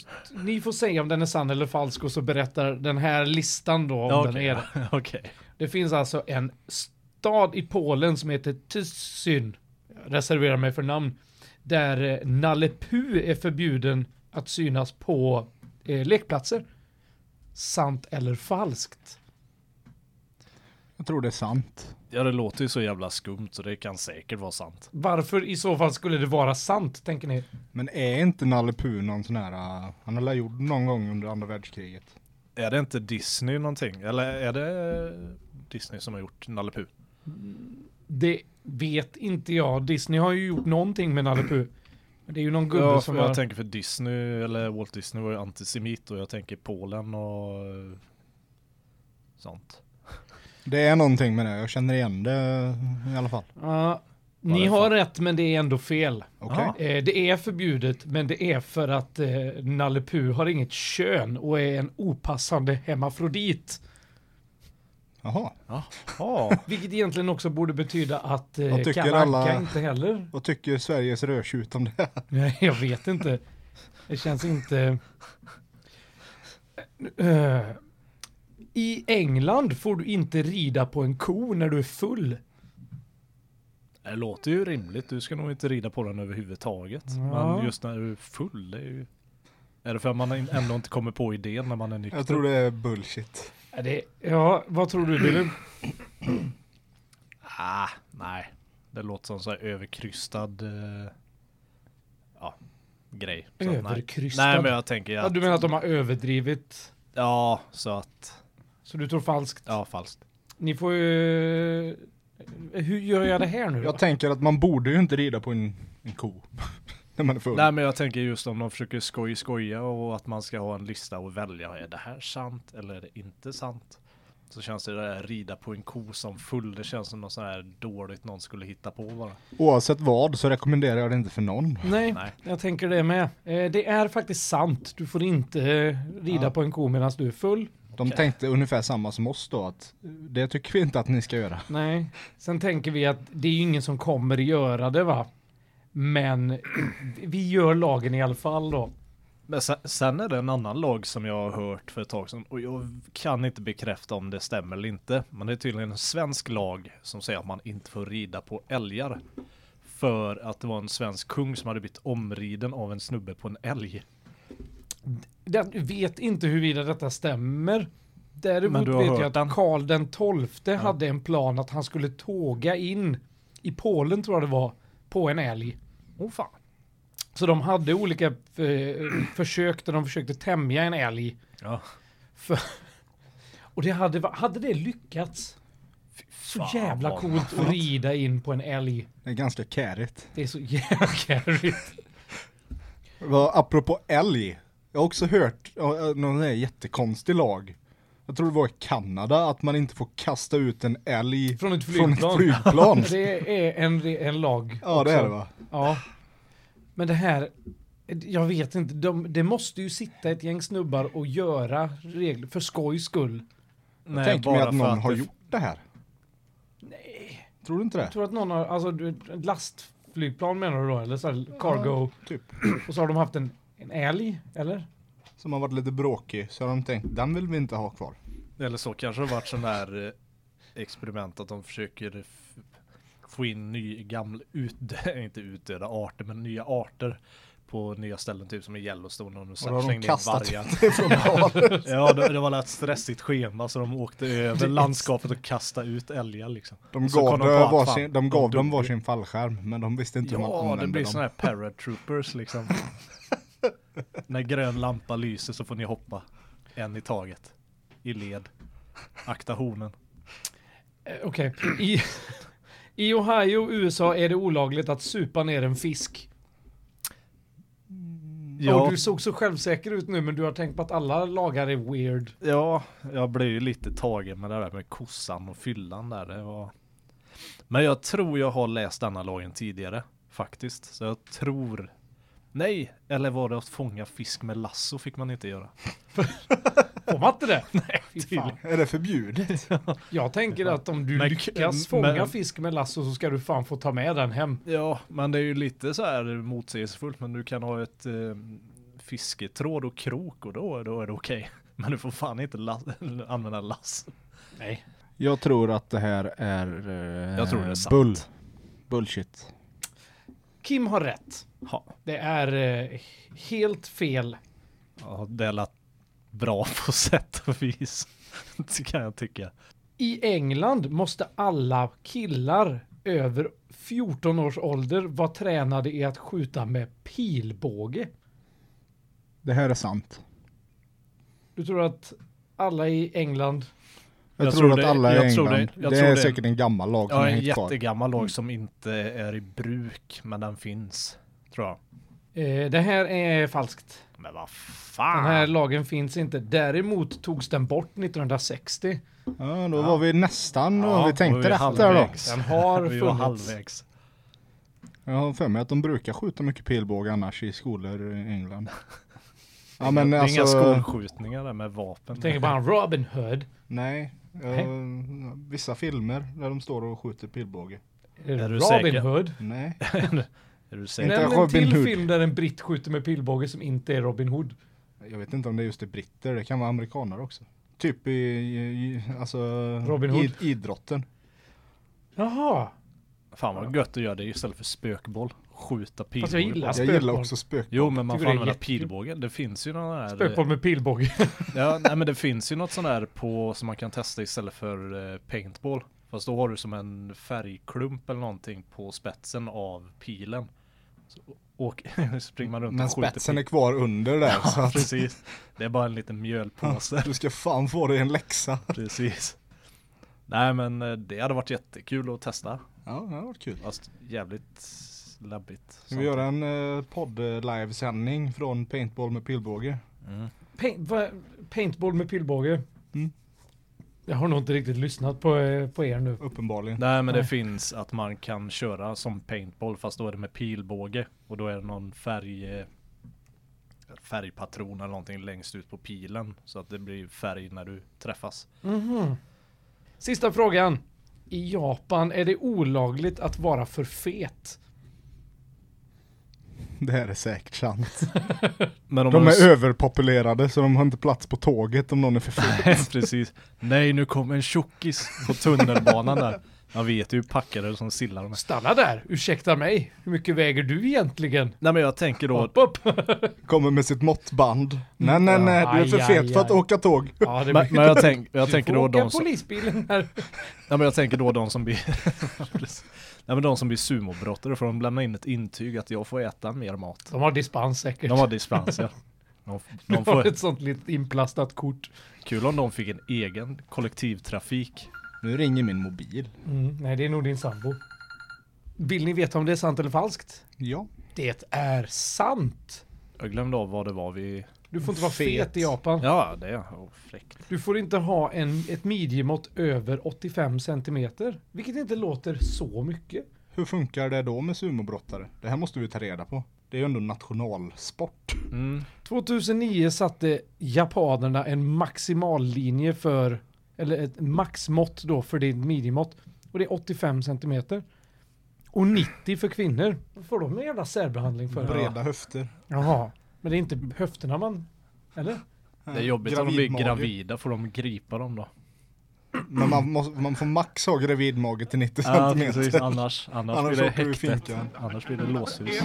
[SPEAKER 4] ni får säga om den är sann eller falsk och så berättar den här listan då om
[SPEAKER 1] Ja,
[SPEAKER 4] den
[SPEAKER 1] okej.
[SPEAKER 4] är det.
[SPEAKER 1] Okej.
[SPEAKER 4] Det finns alltså en stad i Polen som heter Tysyn. Jag reserverar mig för namn. Där eh, Nalle Puh är förbjuden att synas på eh, lekplatser. Sant eller falskt?
[SPEAKER 2] Jag tror det är sant.
[SPEAKER 1] Ja det låter ju så jävla skumt så det kan säkert vara sant.
[SPEAKER 4] Varför i så fall skulle det vara sant, tänker ni?
[SPEAKER 2] Men är inte Nalle Puh någon sån här, eh, han har väl gjort någon gång under andra världskriget?
[SPEAKER 1] Är det inte Disney någonting? Eller är det Disney som har gjort Nalle Puh?
[SPEAKER 4] Det vet inte jag. Disney har ju gjort någonting med Nalle Puh. Men Det är ju någon gubbe
[SPEAKER 1] Ja, för
[SPEAKER 4] som
[SPEAKER 1] jag
[SPEAKER 4] har...
[SPEAKER 1] tänker för Disney, eller Walt Disney var ju antisemit och jag tänker Polen och eh, sånt.
[SPEAKER 2] Det är någonting med det, jag känner igen det eh, i alla fall.
[SPEAKER 4] Ja,
[SPEAKER 1] Vad är
[SPEAKER 4] ni
[SPEAKER 1] det för-
[SPEAKER 4] har rätt, men det är ändå fel.
[SPEAKER 2] Okej?
[SPEAKER 1] Ah.
[SPEAKER 4] Eh, Det är förbjudet, men det är för att eh, Nalle Puh har inget kön och är en opassande hemmafrodit.
[SPEAKER 2] Jaha.
[SPEAKER 1] Ja,
[SPEAKER 4] Vilket egentligen också borde betyda att eh,
[SPEAKER 2] Vad tycker
[SPEAKER 4] Kalle Anka
[SPEAKER 2] alla-
[SPEAKER 4] inte heller...
[SPEAKER 2] Vad tycker Sveriges rödtjut om det här?
[SPEAKER 4] Nej, jag vet inte. Det känns inte... Eh, I England får du inte rida på en ko när du är full.
[SPEAKER 1] det låter ju rimligt. Du ska nog inte rida på den överhuvudtaget.
[SPEAKER 4] Ja.
[SPEAKER 1] Men just när du är full, det är ju... Är det för att man ändå inte kommer på idén när man är nykter?
[SPEAKER 2] Jag tror det är bullshit.
[SPEAKER 4] Ja, Det, ja, vad tror du Billy?
[SPEAKER 1] Ah, nej. Det låter som så här överkrystad... Eh, ja, grej. Så att nej.
[SPEAKER 4] Överkrystad?
[SPEAKER 1] Nej, men jag tänker
[SPEAKER 4] Ja,
[SPEAKER 1] att...
[SPEAKER 4] du menar att de har överdrivit?
[SPEAKER 1] Ja, så att...
[SPEAKER 4] Så du tror falskt?
[SPEAKER 1] Ja, falskt.
[SPEAKER 4] Ni får ju... Eh, Hur gör jag det här nu då?
[SPEAKER 2] Jag tänker att man borde ju inte rida på en, en ko. När man är full.
[SPEAKER 1] Nej, men jag tänker just om de försöker skoj skoja och att man ska ha en lista och välja. Är det här sant eller är det inte sant? Så känns det där rida på en ko som full. Det känns som något sånt här dåligt någon skulle hitta på bara.
[SPEAKER 2] Oavsett vad så rekommenderar jag det inte för någon.
[SPEAKER 4] Nej,
[SPEAKER 1] Nej.
[SPEAKER 4] jag tänker det med. Eh, det är faktiskt sant. Du får inte eh, rida
[SPEAKER 2] Ja.
[SPEAKER 4] på en ko medan du är full.
[SPEAKER 2] De
[SPEAKER 1] Okej.
[SPEAKER 2] tänkte ungefär samma som oss då, att det tycker vi inte att ni ska göra.
[SPEAKER 4] Nej. Sen tänker vi att det är ju ingen som kommer göra det va? Men vi gör lagen i alla fall då.
[SPEAKER 1] Men sen, sen är det en annan lag som jag har hört för ett tag sedan och jag kan inte bekräfta om det stämmer eller inte. Men det är tydligen en svensk lag som säger att man inte får rida på älgar. För att det var en svensk kung som hade blivit omriden av en snubbe på en älg.
[SPEAKER 4] Jag vet inte huruvida detta stämmer.
[SPEAKER 1] Men
[SPEAKER 4] Däremot
[SPEAKER 1] du har
[SPEAKER 4] vet
[SPEAKER 1] hört
[SPEAKER 4] jag att
[SPEAKER 1] den?
[SPEAKER 4] Karl den tolfte hade en plan att han skulle tåga in i Polen tror jag det var, på en älg.
[SPEAKER 1] Åh fan.
[SPEAKER 4] Så de hade olika eh, försök där de försökte tämja en älg.
[SPEAKER 1] Ja.
[SPEAKER 4] För, och det hade, va- hade det lyckats? Så
[SPEAKER 1] fan,
[SPEAKER 4] jävla
[SPEAKER 1] vad
[SPEAKER 4] coolt att rida in på en älg.
[SPEAKER 2] Det är ganska kärigt.
[SPEAKER 4] Det är så jävla carrigt.
[SPEAKER 2] Vad- Apropå älg, Jag har också hört eh, någon sån här jättekonstig lag. Jag tror det var i Kanada att man inte får kasta ut en älg
[SPEAKER 4] Från ett
[SPEAKER 2] Från ett
[SPEAKER 4] flygplan.
[SPEAKER 2] flygplan.
[SPEAKER 4] Det är en, en lag.
[SPEAKER 2] ja det
[SPEAKER 4] också.
[SPEAKER 2] är det va?
[SPEAKER 4] Ja. Men det här, jag vet inte, de, det måste ju sitta ett gäng snubbar och göra regler för skojs skull.
[SPEAKER 1] Nej,
[SPEAKER 2] Tänk mig att
[SPEAKER 1] för
[SPEAKER 2] någon har
[SPEAKER 1] det-
[SPEAKER 2] gjort det här.
[SPEAKER 4] Nej.
[SPEAKER 2] Tror du inte det?
[SPEAKER 4] Jag tror att någon har, alltså du- ett lastflygplan menar du då? Eller så här cargo?
[SPEAKER 2] Typ.
[SPEAKER 4] Och så har de haft en, en älg, eller?
[SPEAKER 2] Som har varit lite bråkig så har de tänkt den vill vi inte ha kvar.
[SPEAKER 1] Eller så kanske det varit sån där eh, experiment att de försöker f- få in ny, gamla, utdö- inte utdöda arter, men nya arter på nya ställen, typ som i Yellowstone. Och de
[SPEAKER 2] Och då har
[SPEAKER 1] slängde
[SPEAKER 2] de
[SPEAKER 1] in
[SPEAKER 2] kastat
[SPEAKER 1] vargar.
[SPEAKER 2] ut det från havet.
[SPEAKER 1] Ja, det, det var ett stressigt schema så de åkte över landskapet och kastade ut älgar liksom.
[SPEAKER 2] De
[SPEAKER 1] Så
[SPEAKER 2] gav,
[SPEAKER 1] kom
[SPEAKER 2] de
[SPEAKER 1] de på att
[SPEAKER 2] varsin,
[SPEAKER 1] fan,
[SPEAKER 2] de
[SPEAKER 1] de
[SPEAKER 2] gav dem
[SPEAKER 1] dog.
[SPEAKER 2] varsin fallskärm men de visste inte hur man
[SPEAKER 1] Ja,
[SPEAKER 2] använde
[SPEAKER 1] det blir
[SPEAKER 2] dem.
[SPEAKER 1] såna här paratroopers liksom. När grön lampa lyser så får ni hoppa. En i taget. I led. Akta hornen.
[SPEAKER 4] Eh, Okej. I, I Ohio, USA är det olagligt att supa ner en fisk. Ja. Och du såg så självsäker ut nu men du har tänkt på att alla lagar är weird.
[SPEAKER 1] Ja, jag blev ju lite tagen med det där med kossan och fyllan där. Det var... Men jag tror jag har läst denna lagen tidigare faktiskt. Så jag tror... Nej, eller var det att fånga fisk med lasso fick man inte göra.
[SPEAKER 4] Får man inte det? Nej, Fy fan.
[SPEAKER 2] Är det förbjudet?
[SPEAKER 4] Jag tänker att om du
[SPEAKER 1] Men-
[SPEAKER 4] lyckas
[SPEAKER 1] men-
[SPEAKER 4] fånga fisk med lasso så ska du fan få ta med den hem.
[SPEAKER 1] Ja, men det är ju lite så här motsägelsefullt. Men du kan ha ett eh, fisketråd och krok och då, då är det okej. Men du får fan inte las- använda lasso.
[SPEAKER 4] Nej.
[SPEAKER 2] Jag tror att det här är... eh,
[SPEAKER 1] Jag tror det är sant.
[SPEAKER 2] Bull. Bullshit.
[SPEAKER 4] Kim har rätt.
[SPEAKER 1] Ja,
[SPEAKER 4] Det är eh, helt fel.
[SPEAKER 1] ja, det lät bra på sätt och vis. Det kan jag tycka.
[SPEAKER 4] I England måste alla killar över 14 års ålder vara tränade i att skjuta med pilbåge.
[SPEAKER 2] Det här är sant.
[SPEAKER 4] Du tror att alla i England...
[SPEAKER 2] Jag,
[SPEAKER 1] Jag
[SPEAKER 2] tror,
[SPEAKER 1] tror
[SPEAKER 2] att
[SPEAKER 1] det-
[SPEAKER 2] alla är
[SPEAKER 1] jag
[SPEAKER 2] i
[SPEAKER 1] tror
[SPEAKER 2] England.
[SPEAKER 1] det- jag
[SPEAKER 2] det
[SPEAKER 1] tror
[SPEAKER 2] är
[SPEAKER 1] det.
[SPEAKER 2] säkert en gammal lag som
[SPEAKER 1] Ja,
[SPEAKER 2] är
[SPEAKER 1] en
[SPEAKER 2] helt kvar.
[SPEAKER 1] jättegammal
[SPEAKER 4] Mm.
[SPEAKER 1] lag som inte är i bruk, men den finns. Tror jag.
[SPEAKER 4] Eh, det här är falskt.
[SPEAKER 1] Men vad
[SPEAKER 4] Den här
[SPEAKER 1] fan!
[SPEAKER 4] lagen finns inte. Däremot togs den bort 1960.
[SPEAKER 2] Ja, då var vi nästan då.
[SPEAKER 1] Ja,
[SPEAKER 2] vi
[SPEAKER 1] var
[SPEAKER 2] tänkte
[SPEAKER 1] vi
[SPEAKER 2] rätt där då.
[SPEAKER 1] halvvägs.
[SPEAKER 4] Den har
[SPEAKER 1] Vi var
[SPEAKER 4] funnits.
[SPEAKER 1] halvvägs.
[SPEAKER 2] Jag har för mig att de brukar skjuta mycket pilbåge annars i skolor i England. Ja men
[SPEAKER 1] det är
[SPEAKER 2] alltså...
[SPEAKER 1] inga skolskjutningar där med vapen.
[SPEAKER 4] Jag tänker på han Robin Hood.
[SPEAKER 2] Nej.
[SPEAKER 4] Nej.
[SPEAKER 2] Eh, vissa filmer där de står och skjuter pilbåge.
[SPEAKER 1] Är du
[SPEAKER 4] Robin
[SPEAKER 1] säker?
[SPEAKER 4] Hood.
[SPEAKER 2] Nej.
[SPEAKER 1] Är du säker?
[SPEAKER 4] Nämn en
[SPEAKER 2] Robin
[SPEAKER 4] till
[SPEAKER 2] Hood.
[SPEAKER 4] film där en britt skjuter med pilbåge som inte är Robin Hood.
[SPEAKER 2] Jag vet inte om det är just det britter. Det kan vara amerikaner också. Typ i, i, i alltså...
[SPEAKER 4] Robin Hood.
[SPEAKER 2] i- idrotten.
[SPEAKER 4] Jaha.
[SPEAKER 1] Fan vad gött att göra det istället för spökboll. Skjuta pilbåge.
[SPEAKER 4] Fast jag gillar
[SPEAKER 1] på.
[SPEAKER 2] Jag gillar också spök.
[SPEAKER 1] Jo men man får
[SPEAKER 4] Tycker det är
[SPEAKER 1] använda
[SPEAKER 4] jättekul.
[SPEAKER 1] pilbågen. Det finns ju någon här...
[SPEAKER 4] Spökboll med pilbåge.
[SPEAKER 1] Ja, nej men det finns ju något sånt där på som man kan testa istället för eh, paintball. Fast då har du som en färgklump eller någonting på spetsen av pilen. Så åk, springer man runt
[SPEAKER 2] Men
[SPEAKER 1] och skjuter
[SPEAKER 2] spetsen
[SPEAKER 1] pil.
[SPEAKER 2] är kvar under där så
[SPEAKER 1] Ja,
[SPEAKER 2] att
[SPEAKER 1] precis. Det är bara en liten mjölpåse.
[SPEAKER 2] du ska fan få dig en läxa.
[SPEAKER 1] precis. Nej men eh, det hade varit jättekul att testa.
[SPEAKER 2] Ja, det har varit kul.
[SPEAKER 1] Fast jävligt labbigt.
[SPEAKER 2] Ska vi göra en eh, podd-livesändning från paintball med pilbåge?
[SPEAKER 4] Paint, va, paintball med pilbåge.
[SPEAKER 2] Mm.
[SPEAKER 4] Jag har nog inte riktigt lyssnat på, eh, på er nu.
[SPEAKER 2] Uppenbarligen.
[SPEAKER 1] Nej men det
[SPEAKER 4] Nej.
[SPEAKER 1] finns att man kan köra som paintball fast då är det med pilbåge och då är det någon färg eh, färgpatron eller någonting längst ut på pilen så att det blir färg när du träffas.
[SPEAKER 4] Sista frågan. I Japan är det olagligt att vara för fet.
[SPEAKER 2] Det här är säkert sant.
[SPEAKER 1] Men om
[SPEAKER 2] De
[SPEAKER 1] man-
[SPEAKER 2] är överpopulerade så de har inte plats på tåget om någon är för full.
[SPEAKER 1] Precis. Nej nu kom en tjockis på tunnelbanan där. Man vet ju hur packade som sillar de är.
[SPEAKER 4] Stanna där, ursäkta mig. Hur mycket väger du egentligen?
[SPEAKER 1] Nej men jag tänker då,
[SPEAKER 4] Hopp upp!
[SPEAKER 2] Kommer med sitt måttband. Nej nej nej, du är för
[SPEAKER 4] Aj,
[SPEAKER 2] fet
[SPEAKER 4] aj,
[SPEAKER 2] för att
[SPEAKER 4] aj.
[SPEAKER 2] åka tåg.
[SPEAKER 4] Ja, det
[SPEAKER 1] men, men jag, tänk, jag
[SPEAKER 4] Du
[SPEAKER 1] tänker
[SPEAKER 4] får
[SPEAKER 1] då
[SPEAKER 4] åka
[SPEAKER 1] de som,
[SPEAKER 4] polisbilen här.
[SPEAKER 1] Nej men jag tänker då de som blir Precis. Nej men de som blir sumobrottare får de lämna in ett intyg att jag får äta mer mat.
[SPEAKER 4] De har dispens säkert.
[SPEAKER 1] De har dispens ja. De, de
[SPEAKER 4] De har
[SPEAKER 1] får,
[SPEAKER 4] ett sånt litet inplastat kort.
[SPEAKER 1] kul om de fick en egen kollektivtrafik.
[SPEAKER 2] Nu ringer min mobil.
[SPEAKER 4] Mm, nej, det är nog din sambo. Vill ni veta om det är sant eller falskt?
[SPEAKER 2] Ja.
[SPEAKER 4] Det är sant!
[SPEAKER 1] Jag glömde av vad det var vi
[SPEAKER 4] Du får inte vara fet,
[SPEAKER 2] Fet.
[SPEAKER 4] i Japan.
[SPEAKER 5] Ja, det är oh, fräckt.
[SPEAKER 4] Du får inte ha en, ett midjemått över 85 centimeter. Vilket inte låter så mycket.
[SPEAKER 2] Hur funkar det då med sumobrottare? Det här måste vi ta reda på. Det är ju ändå nationalsport.
[SPEAKER 5] Mm.
[SPEAKER 4] 2009 satte japanerna en maximallinje för, eller ett maxmått då för ditt midjemått. Och det är 85 centimeter. Och 90 för kvinnor. Vad får de en jävla särbehandling för?
[SPEAKER 2] Breda höfter.
[SPEAKER 4] Jaha. Men det är inte höfterna man... Eller?
[SPEAKER 5] Det är jobbigt om de blir
[SPEAKER 2] Gravidmage.
[SPEAKER 5] gravida, får de gripa dem då?
[SPEAKER 2] Men man, måste, man får max ha gravidmage till 90
[SPEAKER 5] Ja, precis.
[SPEAKER 2] centimeter.
[SPEAKER 5] Annars, annars,
[SPEAKER 2] Annars
[SPEAKER 5] blir det
[SPEAKER 2] åker du i
[SPEAKER 5] häktet.
[SPEAKER 2] finkan.
[SPEAKER 5] Annars blir det låshus.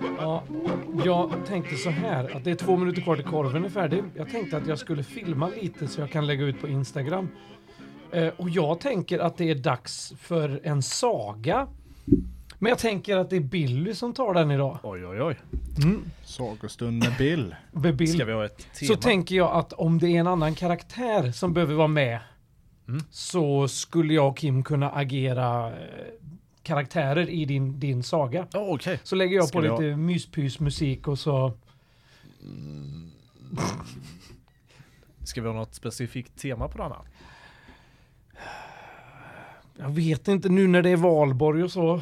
[SPEAKER 4] Ja, jag tänkte så här att det är två minuter kvar till korven är färdig. Jag tänkte att jag skulle filma lite så jag kan lägga ut på Instagram. Eh, och jag tänker att det är dags för en saga. Men jag tänker att det är Billy som tar den idag.
[SPEAKER 5] Oj, oj, oj.
[SPEAKER 2] Sagostund med Bill.
[SPEAKER 4] Med Bill.
[SPEAKER 5] Ska vi ha ett tema?
[SPEAKER 4] Så tänker jag att om det är en annan karaktär som behöver vara med
[SPEAKER 5] Mm.
[SPEAKER 4] så skulle jag och Kim kunna agera eh, karaktärer i din, din saga.
[SPEAKER 5] Ja, Okej.
[SPEAKER 4] Så lägger jag
[SPEAKER 5] Ska
[SPEAKER 4] på
[SPEAKER 5] vi ha-
[SPEAKER 4] lite myspysmusik och så...
[SPEAKER 5] Ska vi ha något specifikt tema på den här?
[SPEAKER 4] Jag vet inte nu när det är valborg och så.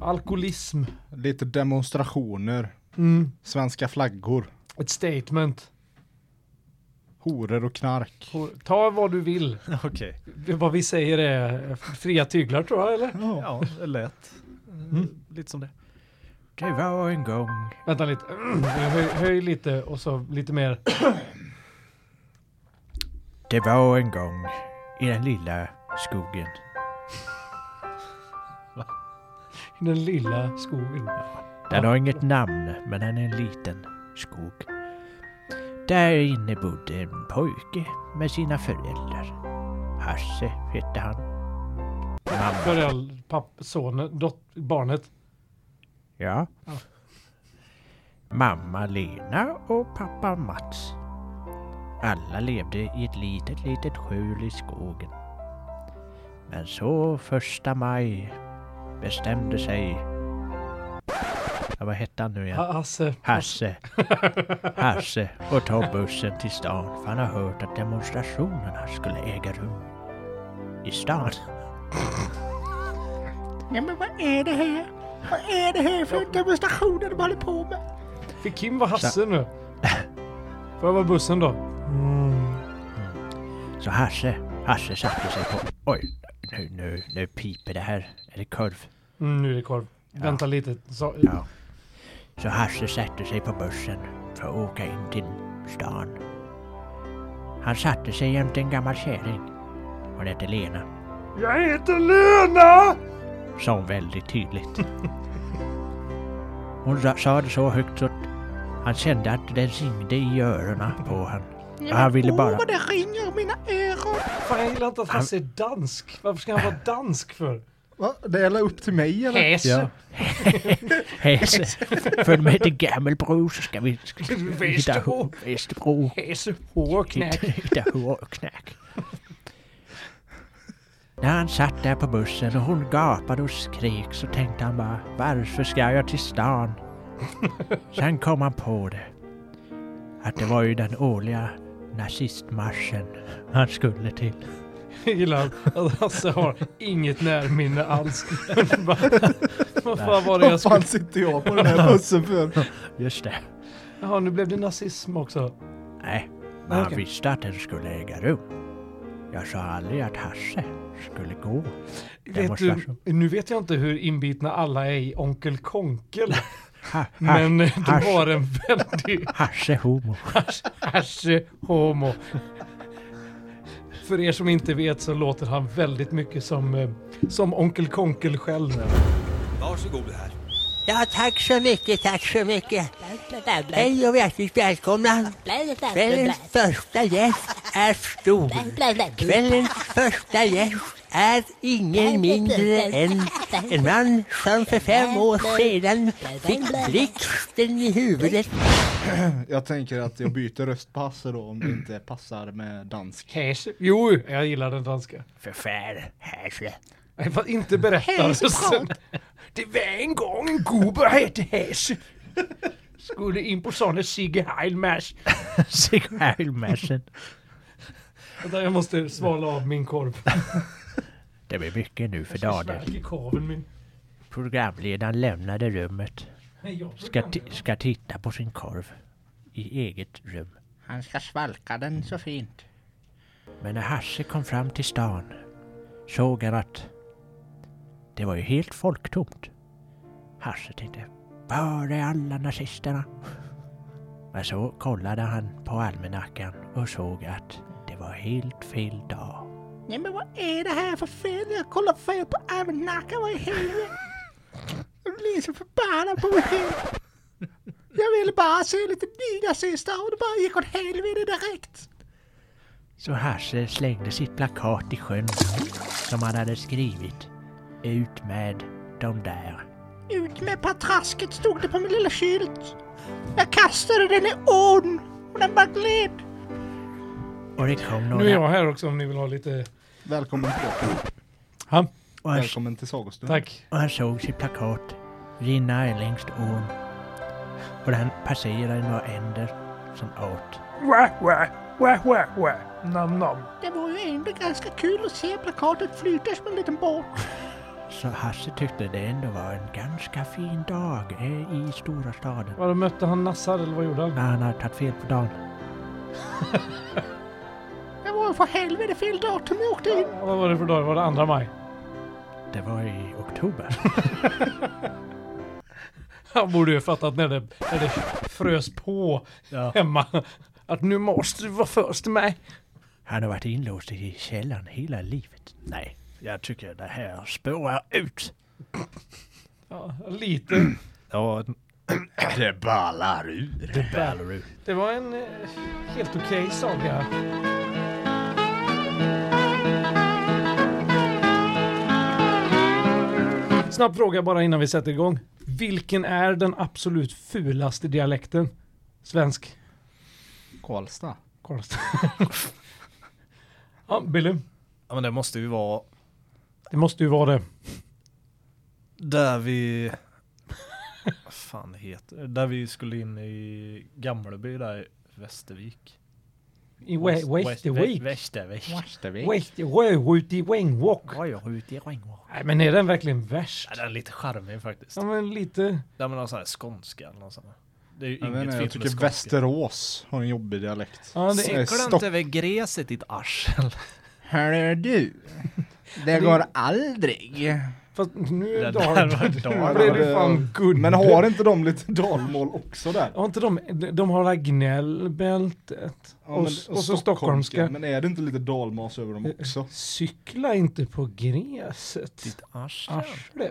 [SPEAKER 4] Alkoholism.
[SPEAKER 2] Lite demonstrationer. Mm. Svenska flaggor.
[SPEAKER 4] Ett statement.
[SPEAKER 2] Horor och knark.
[SPEAKER 4] Ta vad du vill.
[SPEAKER 5] Okej.
[SPEAKER 4] Det- Vad vi säger är fria tyglar tror jag eller?
[SPEAKER 5] Ja, det lät
[SPEAKER 2] Mm.
[SPEAKER 5] eh, lite som det. Det var en gång.
[SPEAKER 4] Vänta lite. Mm, Höj, höj lite och så lite mer.
[SPEAKER 5] Det var en gång i den lilla skogen.
[SPEAKER 4] I den lilla skogen.
[SPEAKER 5] Den har inget namn, men den är en liten skog. Där inne bodde en pojke med sina föräldrar. Hasse hette han. Mamma,
[SPEAKER 4] Föräldrar, papp, sonen, dot, barnet.
[SPEAKER 5] ja. Mamma Lena och pappa Mats. Alla levde i ett litet, litet skjul i skogen. Men så första maj bestämde sig... Ja, vad hette han nu igen?
[SPEAKER 4] Ha- Hasse.
[SPEAKER 5] Hasse. Hasse och tar bussen till stan för han har hört att demonstrationerna skulle äga rum i stan.
[SPEAKER 1] Nej men vad är det här? Vad är det här för demonstrationer de håller på med?
[SPEAKER 4] Fick Kim vara Hasse nu? Får jag vara bussen då?
[SPEAKER 5] Så Hasse, Hasse satte sig på... Oj, nu, nu, nu piper det här. Är det korv?
[SPEAKER 4] Mm, nu är det korv. Vänta lite. Så,
[SPEAKER 5] Ja. Så Hasse satte sig på bussen för att åka in till stan. Han satte sig jämte en gammal kärring. Hon hette Lena.
[SPEAKER 4] Jag heter Lena!
[SPEAKER 5] sa hon väldigt tydligt. Hon ra- sa det så högt så att han kände att det ringde i öronen på honom. Och han ville bara...
[SPEAKER 1] Åh vad det ringer i mina öron!
[SPEAKER 4] Fan jag gillar inte att Hasse är dansk. Varför ska han vara dansk för?
[SPEAKER 2] Va? Det är upp till mig eller?
[SPEAKER 4] Häs.
[SPEAKER 5] Häse, följ med till Gammelbro så ska vi ska vi hitta
[SPEAKER 4] Västerbro.
[SPEAKER 5] H- Västerbro.
[SPEAKER 4] Häs. Hårknäck.
[SPEAKER 5] Hitta, hitta hårknäck. När han satt där på bussen och hon gapade och skrek så tänkte han bara varför ska jag till stan? Sen kom han på det. Att det var ju den årliga nazistmarschen han skulle till.
[SPEAKER 4] Jag gillar att Hasse har inget närminne alls. Vad vad fan var det jag
[SPEAKER 2] Vad
[SPEAKER 4] skulle...
[SPEAKER 2] fan sitter jag på den här bussen för?
[SPEAKER 5] Just det.
[SPEAKER 4] Jaha, nu blev det nazism också.
[SPEAKER 5] Nej, men han
[SPEAKER 4] Okej.
[SPEAKER 5] visste att den skulle äga rum. Jag sa aldrig att Hasse skulle gå.
[SPEAKER 4] Vet du,
[SPEAKER 5] Demonstration.
[SPEAKER 4] nu vet jag inte hur inbitna alla är i Onkel Konkel.
[SPEAKER 5] Ha, ha,
[SPEAKER 4] Men eh,
[SPEAKER 5] hasch.
[SPEAKER 4] du har en väldig
[SPEAKER 5] Hasse homo.
[SPEAKER 4] Hasse Homo. För er som inte vet så låter han väldigt mycket som, eh, som Onkel Konkel själv.
[SPEAKER 6] Varsågod här.
[SPEAKER 7] Ja, tack så mycket, tack så mycket.
[SPEAKER 5] Hej och hjärtligt välkomna! Kvällens första gäst är stor. Kvällens första gäst är ingen mindre än en man som för fem år sedan fick blixten i huvudet.
[SPEAKER 2] Jag tänker att jag byter röstpass då om det inte passar med dansk.
[SPEAKER 4] Häs. Jo, jag gillar den danska.
[SPEAKER 5] Förfär, härsle.
[SPEAKER 4] Nej, fast inte berätta rösten. Det var en gång en gubbe hette Häs. Skulle in på sådana Sigge Heilmers.
[SPEAKER 5] Sigvärlmässen.
[SPEAKER 4] Vänta, Jag måste svala av min korv.
[SPEAKER 5] Det blir mycket nu för
[SPEAKER 4] Smack i korven min.
[SPEAKER 5] Programledaren lämnade rummet.
[SPEAKER 4] Nej, jag
[SPEAKER 5] Ska, ti- ska titta på sin korv. I eget rum.
[SPEAKER 8] Han ska svalka den så fint.
[SPEAKER 5] Men när Hasse kom fram till stan såg han att det var ju helt folktomt. Hasse tänkte, var är alla nazisterna? Men så kollade han på almanackan och såg att det var helt fel dag.
[SPEAKER 8] Nej men vad är det här för fel? Jag kollar fel på almanackan, vad i helvete? Jag blir så förbannad på mig själv. Jag ville bara se lite nynazister och det bara gick åt helvete direkt.
[SPEAKER 5] Så Hasse slängde sitt plakat i sjön som han hade skrivit. Ut med de där.
[SPEAKER 8] Ut med patrasket stod det på min lilla skylt. Jag kastade den i ån och den bara gled.
[SPEAKER 5] Och det kom
[SPEAKER 4] Nu är
[SPEAKER 5] några...
[SPEAKER 4] jag här också om ni vill ha lite...
[SPEAKER 2] Välkommen till,
[SPEAKER 4] Han.
[SPEAKER 5] Och han
[SPEAKER 2] välkommen till sagostund.
[SPEAKER 4] Tack.
[SPEAKER 5] och han såg sitt plakat rinna längs ån. Och han passerade några änder som åt.
[SPEAKER 3] Wah, wah, wah, wah, wah. Nam, nam.
[SPEAKER 8] Det var ju ändå ganska kul att se plakatet flyta som en liten båt.
[SPEAKER 5] Så Hasse tyckte det ändå var en ganska fin dag eh, i stora staden.
[SPEAKER 4] Vadå, mötte han Nassar eller vad gjorde han?
[SPEAKER 5] När han hade tagit fel på dagen.
[SPEAKER 8] Det var ju för helvete fel datum jag åkte in.
[SPEAKER 4] Vad var det för dag? Var det andra maj?
[SPEAKER 5] Det var i oktober.
[SPEAKER 4] Han borde ju fattat när det, när det frös på
[SPEAKER 1] Ja.
[SPEAKER 4] hemma. Att nu måste du vara först med.
[SPEAKER 5] Han har varit inlåst i källaren hela livet. Nej, jag tycker det här spårar ut.
[SPEAKER 4] Ja, lite.
[SPEAKER 1] Ja,
[SPEAKER 2] Det ballar ur.
[SPEAKER 5] Det ballar ut.
[SPEAKER 4] Det var en eh, helt okej saga. Snabb fråga bara innan vi sätter igång. Vilken är den absolut fulaste dialekten? Svensk.
[SPEAKER 2] Karlstad.
[SPEAKER 4] Karlstad. ja, Billy.
[SPEAKER 1] ja, men det måste ju vara
[SPEAKER 4] Det måste ju vara det.
[SPEAKER 1] där vi... Vad fan heter det? Där vi skulle in i Gamleby där i Västervik.
[SPEAKER 4] I Västervik.
[SPEAKER 1] Västervik.
[SPEAKER 2] Västervik.
[SPEAKER 4] Västervik. i Wengwalk.
[SPEAKER 5] Oj, jag ut i regnvåg.
[SPEAKER 4] Nej men är den verkligen värst?
[SPEAKER 1] Ja, den är lite charmig faktiskt.
[SPEAKER 4] Ja men lite.
[SPEAKER 1] Ja, men någon sån här skånska eller något sånt. Det är ju
[SPEAKER 2] Jag,
[SPEAKER 1] inget
[SPEAKER 2] vet inte,
[SPEAKER 1] fel
[SPEAKER 2] jag
[SPEAKER 1] med
[SPEAKER 2] tycker
[SPEAKER 1] skånska.
[SPEAKER 2] Västerås har en jobbig dialekt.
[SPEAKER 4] Ja, det är...
[SPEAKER 2] Säkert.
[SPEAKER 1] Cykla
[SPEAKER 2] Stopp.
[SPEAKER 1] inte över gräset ditt arsel.
[SPEAKER 2] Hörru du.
[SPEAKER 4] Det- går
[SPEAKER 2] aldrig.
[SPEAKER 4] Fast nu är
[SPEAKER 1] Det där
[SPEAKER 4] Dark.
[SPEAKER 1] var
[SPEAKER 4] Nu
[SPEAKER 1] dark.
[SPEAKER 4] blir det fan Gunde.
[SPEAKER 2] Men har inte de lite dalmål också där?
[SPEAKER 4] Har inte de, de har Ragnell-bältet.
[SPEAKER 2] Ja,
[SPEAKER 4] och,
[SPEAKER 2] men-
[SPEAKER 4] och, så stockholmska. Eh,
[SPEAKER 2] Men är det inte lite dalmas över dem också?
[SPEAKER 4] Cykla inte på gräset.
[SPEAKER 5] Ditt arsel.
[SPEAKER 4] Arsle.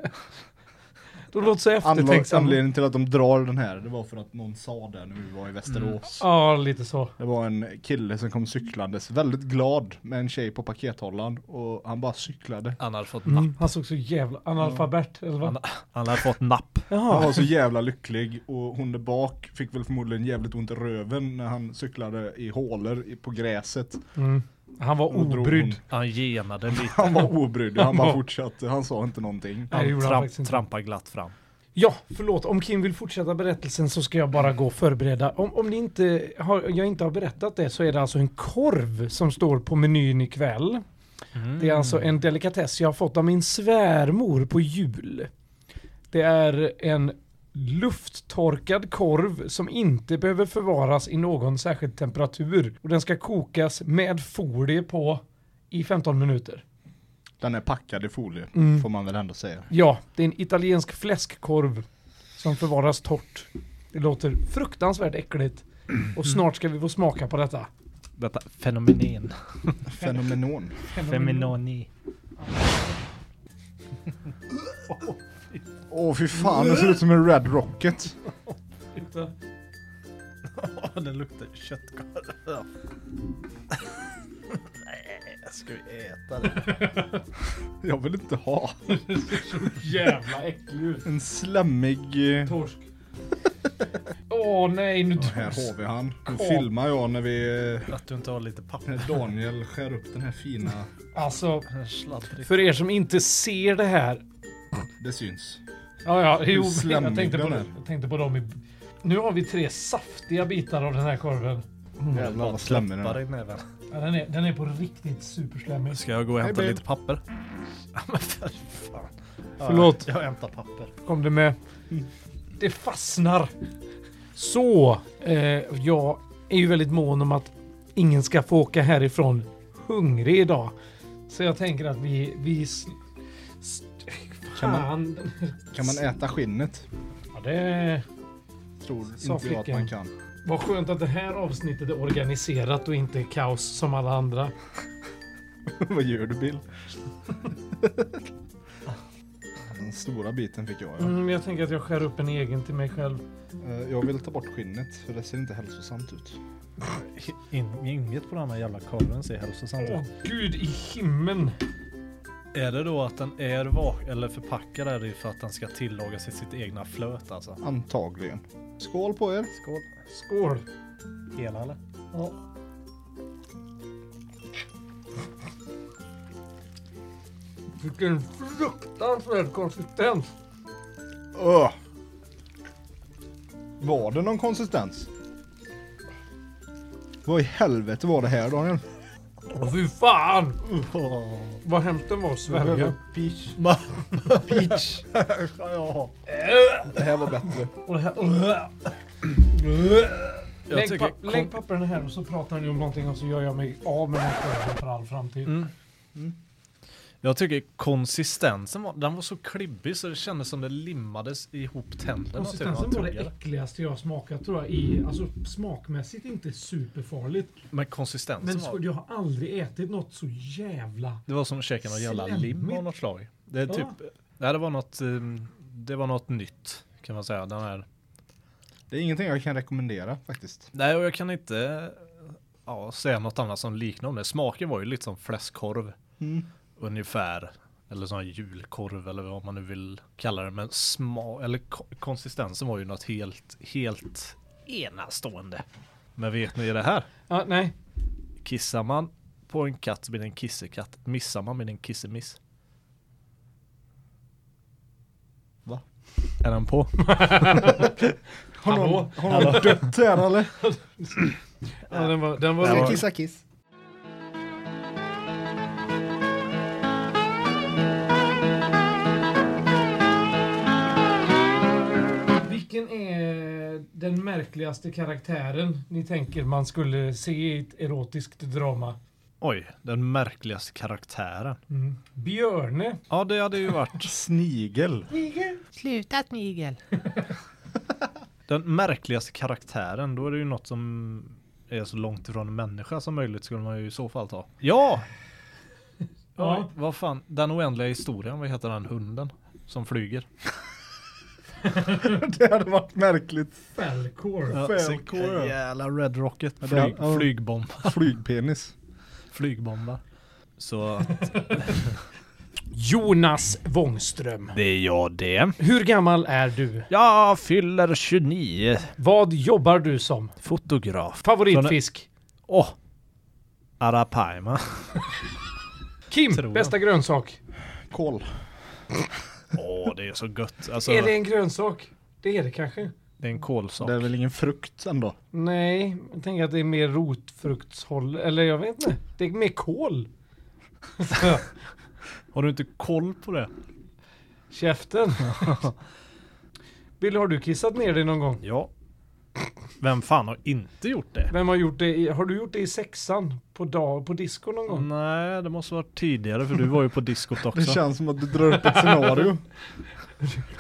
[SPEAKER 4] De låter så
[SPEAKER 2] Anla-
[SPEAKER 4] eftertänksamma.
[SPEAKER 2] Anledningen till att de drar den här, det var för att någon sa det när vi var i Västerås.
[SPEAKER 4] Ja, lite så.
[SPEAKER 2] Det var en kille som kom cyklandes, väldigt glad med en tjej på pakethållaren och han bara cyklade.
[SPEAKER 1] Han hade fått napp.
[SPEAKER 4] Mm. Han såg så jävla analfabet. Eller vad?
[SPEAKER 1] Han, han hade fått napp.
[SPEAKER 2] Han
[SPEAKER 4] Jaha.
[SPEAKER 2] var så jävla lycklig och hon där bak fick väl förmodligen jävligt ont i röven när han cyklade i hålor i- på gräset.
[SPEAKER 4] Mm. Han var
[SPEAKER 2] Och drog hon.
[SPEAKER 4] obrydd.
[SPEAKER 1] Han genade lite.
[SPEAKER 2] Han var obrydd och han bara
[SPEAKER 4] var-
[SPEAKER 2] fortsatte, han sa inte någonting.
[SPEAKER 4] Nej, det
[SPEAKER 1] Han
[SPEAKER 4] gjorde han
[SPEAKER 1] tramp,
[SPEAKER 4] faktiskt inte.
[SPEAKER 1] trampade glatt fram.
[SPEAKER 4] Ja, förlåt. Om Kim vill fortsätta berättelsen så ska jag bara gå och förbereda. Om, om ni inte har, jag inte har berättat det så är det alltså en korv som står på menyn ikväll. Det är alltså en delikatess jag har fått av min svärmor på jul. Det är en lufttorkad korv som inte behöver förvaras i någon särskild temperatur. Och den ska kokas med folie på i 15 minuter.
[SPEAKER 2] Den är packad i folie,
[SPEAKER 4] Mm.
[SPEAKER 2] får man väl ändå säga.
[SPEAKER 4] Ja, det är en italiensk fläskkorv som förvaras torrt. Det låter fruktansvärt äckligt. Och snart ska vi få smaka på detta.
[SPEAKER 1] Detta fenomen.
[SPEAKER 2] Fenomenon.
[SPEAKER 1] Feminoni.
[SPEAKER 4] Mm.
[SPEAKER 2] Åh fy fan, det ser ut som en Red Rocket.
[SPEAKER 4] luktar.
[SPEAKER 1] Åh, den luktar köttkorv. Nej, ska vi äta det?
[SPEAKER 2] Jag vill inte ha
[SPEAKER 4] Jävla äcklig ut.
[SPEAKER 2] en slemmig... eh,
[SPEAKER 4] Torsk. Åh nej, nu
[SPEAKER 2] Här har vi han. Nu filmar jag när vi... eh,
[SPEAKER 1] Att du inte har lite papper.
[SPEAKER 2] När Daniel skär upp den här fina...
[SPEAKER 4] Alltså,
[SPEAKER 1] Sladdrig.
[SPEAKER 4] för er som inte ser det här.
[SPEAKER 2] Det syns.
[SPEAKER 4] Ja, ja, jo, jag
[SPEAKER 2] slemmig
[SPEAKER 4] tänkte på
[SPEAKER 2] den
[SPEAKER 4] det.
[SPEAKER 2] är.
[SPEAKER 4] Jag tänkte på dem i... Nu har vi tre saftiga bitar av den här korven. Mm.
[SPEAKER 2] Jävlar vad slemmig den
[SPEAKER 1] Bara
[SPEAKER 2] är.
[SPEAKER 1] i näven.
[SPEAKER 4] Ja, den, är, den är på riktigt superslemmig.
[SPEAKER 1] Ska jag gå och hämta
[SPEAKER 2] babe.
[SPEAKER 1] lite papper? Ja, men för fan.
[SPEAKER 4] Förlåt.
[SPEAKER 1] Ja, Jag hämtar papper.
[SPEAKER 4] kom det med.
[SPEAKER 2] Mm.
[SPEAKER 4] Det fastnar. Så, eh, jag är ju väldigt mån om att ingen ska få åka härifrån hungrig idag. Så jag tänker att vi... vi s- s-
[SPEAKER 2] Kan man-
[SPEAKER 4] Fan.
[SPEAKER 2] Kan man äta skinnet?
[SPEAKER 4] Ja, det
[SPEAKER 2] Tror
[SPEAKER 4] Sa
[SPEAKER 2] inte jag att
[SPEAKER 4] flickan.
[SPEAKER 2] man kan.
[SPEAKER 4] var skönt att det här avsnittet är organiserat och inte kaos som alla andra.
[SPEAKER 2] Vad gör du Bill? Den stora biten fick jag ja.
[SPEAKER 4] Mm, men jag tänker att jag skär upp en egen till mig själv.
[SPEAKER 2] Eh, Jag vill ta bort skinnet för det ser inte hälsosamt ut.
[SPEAKER 1] In, inget på den här jävla korven ser hälsosamt
[SPEAKER 4] Åh
[SPEAKER 1] ut.
[SPEAKER 4] gud i himlen!
[SPEAKER 1] Är det då att den är vak eller förpackad är det för att den ska tillagas i sitt egna flöt alltså?
[SPEAKER 2] Antagligen. Skål på er!
[SPEAKER 1] Skål.
[SPEAKER 4] Skål!
[SPEAKER 1] Hela eller?
[SPEAKER 4] Ja. Vilken fruktansvärd konsistens!
[SPEAKER 2] Öh. Var det någon konsistens? Vad i helvete var det här Daniel?
[SPEAKER 4] Åh fy fan! Vad hemskt den var att svälja.
[SPEAKER 2] Peach.
[SPEAKER 1] Peach! ja.
[SPEAKER 2] Det här var bättre.
[SPEAKER 4] Och det här-
[SPEAKER 1] Jag
[SPEAKER 4] Lägg,
[SPEAKER 1] tycker
[SPEAKER 4] pa- lägg pappren här och så pratar ni om någonting och så gör jag mig av med den här skölden för all framtid.
[SPEAKER 1] Jag tycker konsistensen var, den var så klibbig så det kändes som det limmades ihop tänderna. typ.
[SPEAKER 4] Konsistensen var det
[SPEAKER 1] äckligt.
[SPEAKER 4] äckligaste jag har smakat tror jag. I, alltså smakmässigt inte superfarligt.
[SPEAKER 1] Men konsistensen
[SPEAKER 4] Men
[SPEAKER 1] var...
[SPEAKER 4] så, jag har aldrig ätit något så jävla...
[SPEAKER 1] Det var som att käka någon jävla lim
[SPEAKER 4] Slemmigt.
[SPEAKER 1] av något slag. Det är
[SPEAKER 4] Ja.
[SPEAKER 1] typ... Nej, det var något... eh, Det var något nytt kan man säga. Den här...
[SPEAKER 2] Det är ingenting jag kan rekommendera faktiskt.
[SPEAKER 1] Nej, och jag kan inte ja, säga något annat som liknar om det. Smaken var ju lite som fläskkorv. Ungefär. Eller sån här julkorv eller vad man nu vill kalla det. Men sma eller ko- konsistensen var ju något helt, helt enastående. Men vet ni det här?
[SPEAKER 4] Ja, nej.
[SPEAKER 1] Kissar man på en katt så blir det en kissekatt. Missar man blir det en kissemiss.
[SPEAKER 2] Va?
[SPEAKER 1] Är den på?
[SPEAKER 2] Har någon,
[SPEAKER 4] Hallå?
[SPEAKER 2] har någon dött här eller?
[SPEAKER 4] Ja, den var, den var
[SPEAKER 2] Ska
[SPEAKER 4] riktigt-
[SPEAKER 2] jag kissa kiss?
[SPEAKER 4] Vilken är den märkligaste karaktären ni tänker man skulle se i ett erotiskt drama?
[SPEAKER 1] Oj, den märkligaste karaktären.
[SPEAKER 4] Björne?
[SPEAKER 1] Ja, det hade ju varit
[SPEAKER 2] Snigel.
[SPEAKER 8] Sluta snigel.
[SPEAKER 1] Den märkligaste karaktären, då är det ju något som är så långt ifrån en människa som möjligt skulle man ju i så fall ta. Ja!
[SPEAKER 4] Ja.
[SPEAKER 1] Oj, vad fan, den oändliga historien, vad heter den hunden som flyger?
[SPEAKER 2] Det hade varit märkligt.
[SPEAKER 4] Falcor?
[SPEAKER 1] Ja,
[SPEAKER 2] Falcor,
[SPEAKER 1] sick-
[SPEAKER 2] ja.
[SPEAKER 1] Jävla Red Rocket.
[SPEAKER 2] Ja, det-
[SPEAKER 1] Flyg,
[SPEAKER 2] ja.
[SPEAKER 1] Flygbomb.
[SPEAKER 2] Flygpenis.
[SPEAKER 1] Flygbomba. Så
[SPEAKER 4] Jonas Wångström.
[SPEAKER 1] det är jag det.
[SPEAKER 4] Hur gammal är du?
[SPEAKER 1] Jag fyller 29.
[SPEAKER 4] Vad jobbar du som?
[SPEAKER 1] Fotograf.
[SPEAKER 4] Favoritfisk?
[SPEAKER 1] Åh! Arapaima.
[SPEAKER 4] Kim,
[SPEAKER 1] Tror
[SPEAKER 4] bästa grönsak?
[SPEAKER 2] Kol.
[SPEAKER 1] Åh, det är så gött. Alltså,
[SPEAKER 4] Är det en grönsak? Det är det kanske.
[SPEAKER 1] det är en kolsak.
[SPEAKER 2] Det är väl ingen frukt ändå?
[SPEAKER 4] Nej, jag tänker att det är mer rotfruktshåll. Eller jag vet inte. Det är mer kål.
[SPEAKER 1] Har du inte koll på det?
[SPEAKER 4] Käften. Bill, har du kissat ner dig någon gång?
[SPEAKER 1] Ja. Vem fan har inte gjort det?
[SPEAKER 4] Vem har gjort det? I, har du gjort det i sexan? På, dag, på disco någon
[SPEAKER 1] Mm.
[SPEAKER 4] gång?
[SPEAKER 1] Nej, det måste varit tidigare för du var ju på diskot
[SPEAKER 2] Det
[SPEAKER 1] också.
[SPEAKER 2] känns som att du drar upp ett scenario.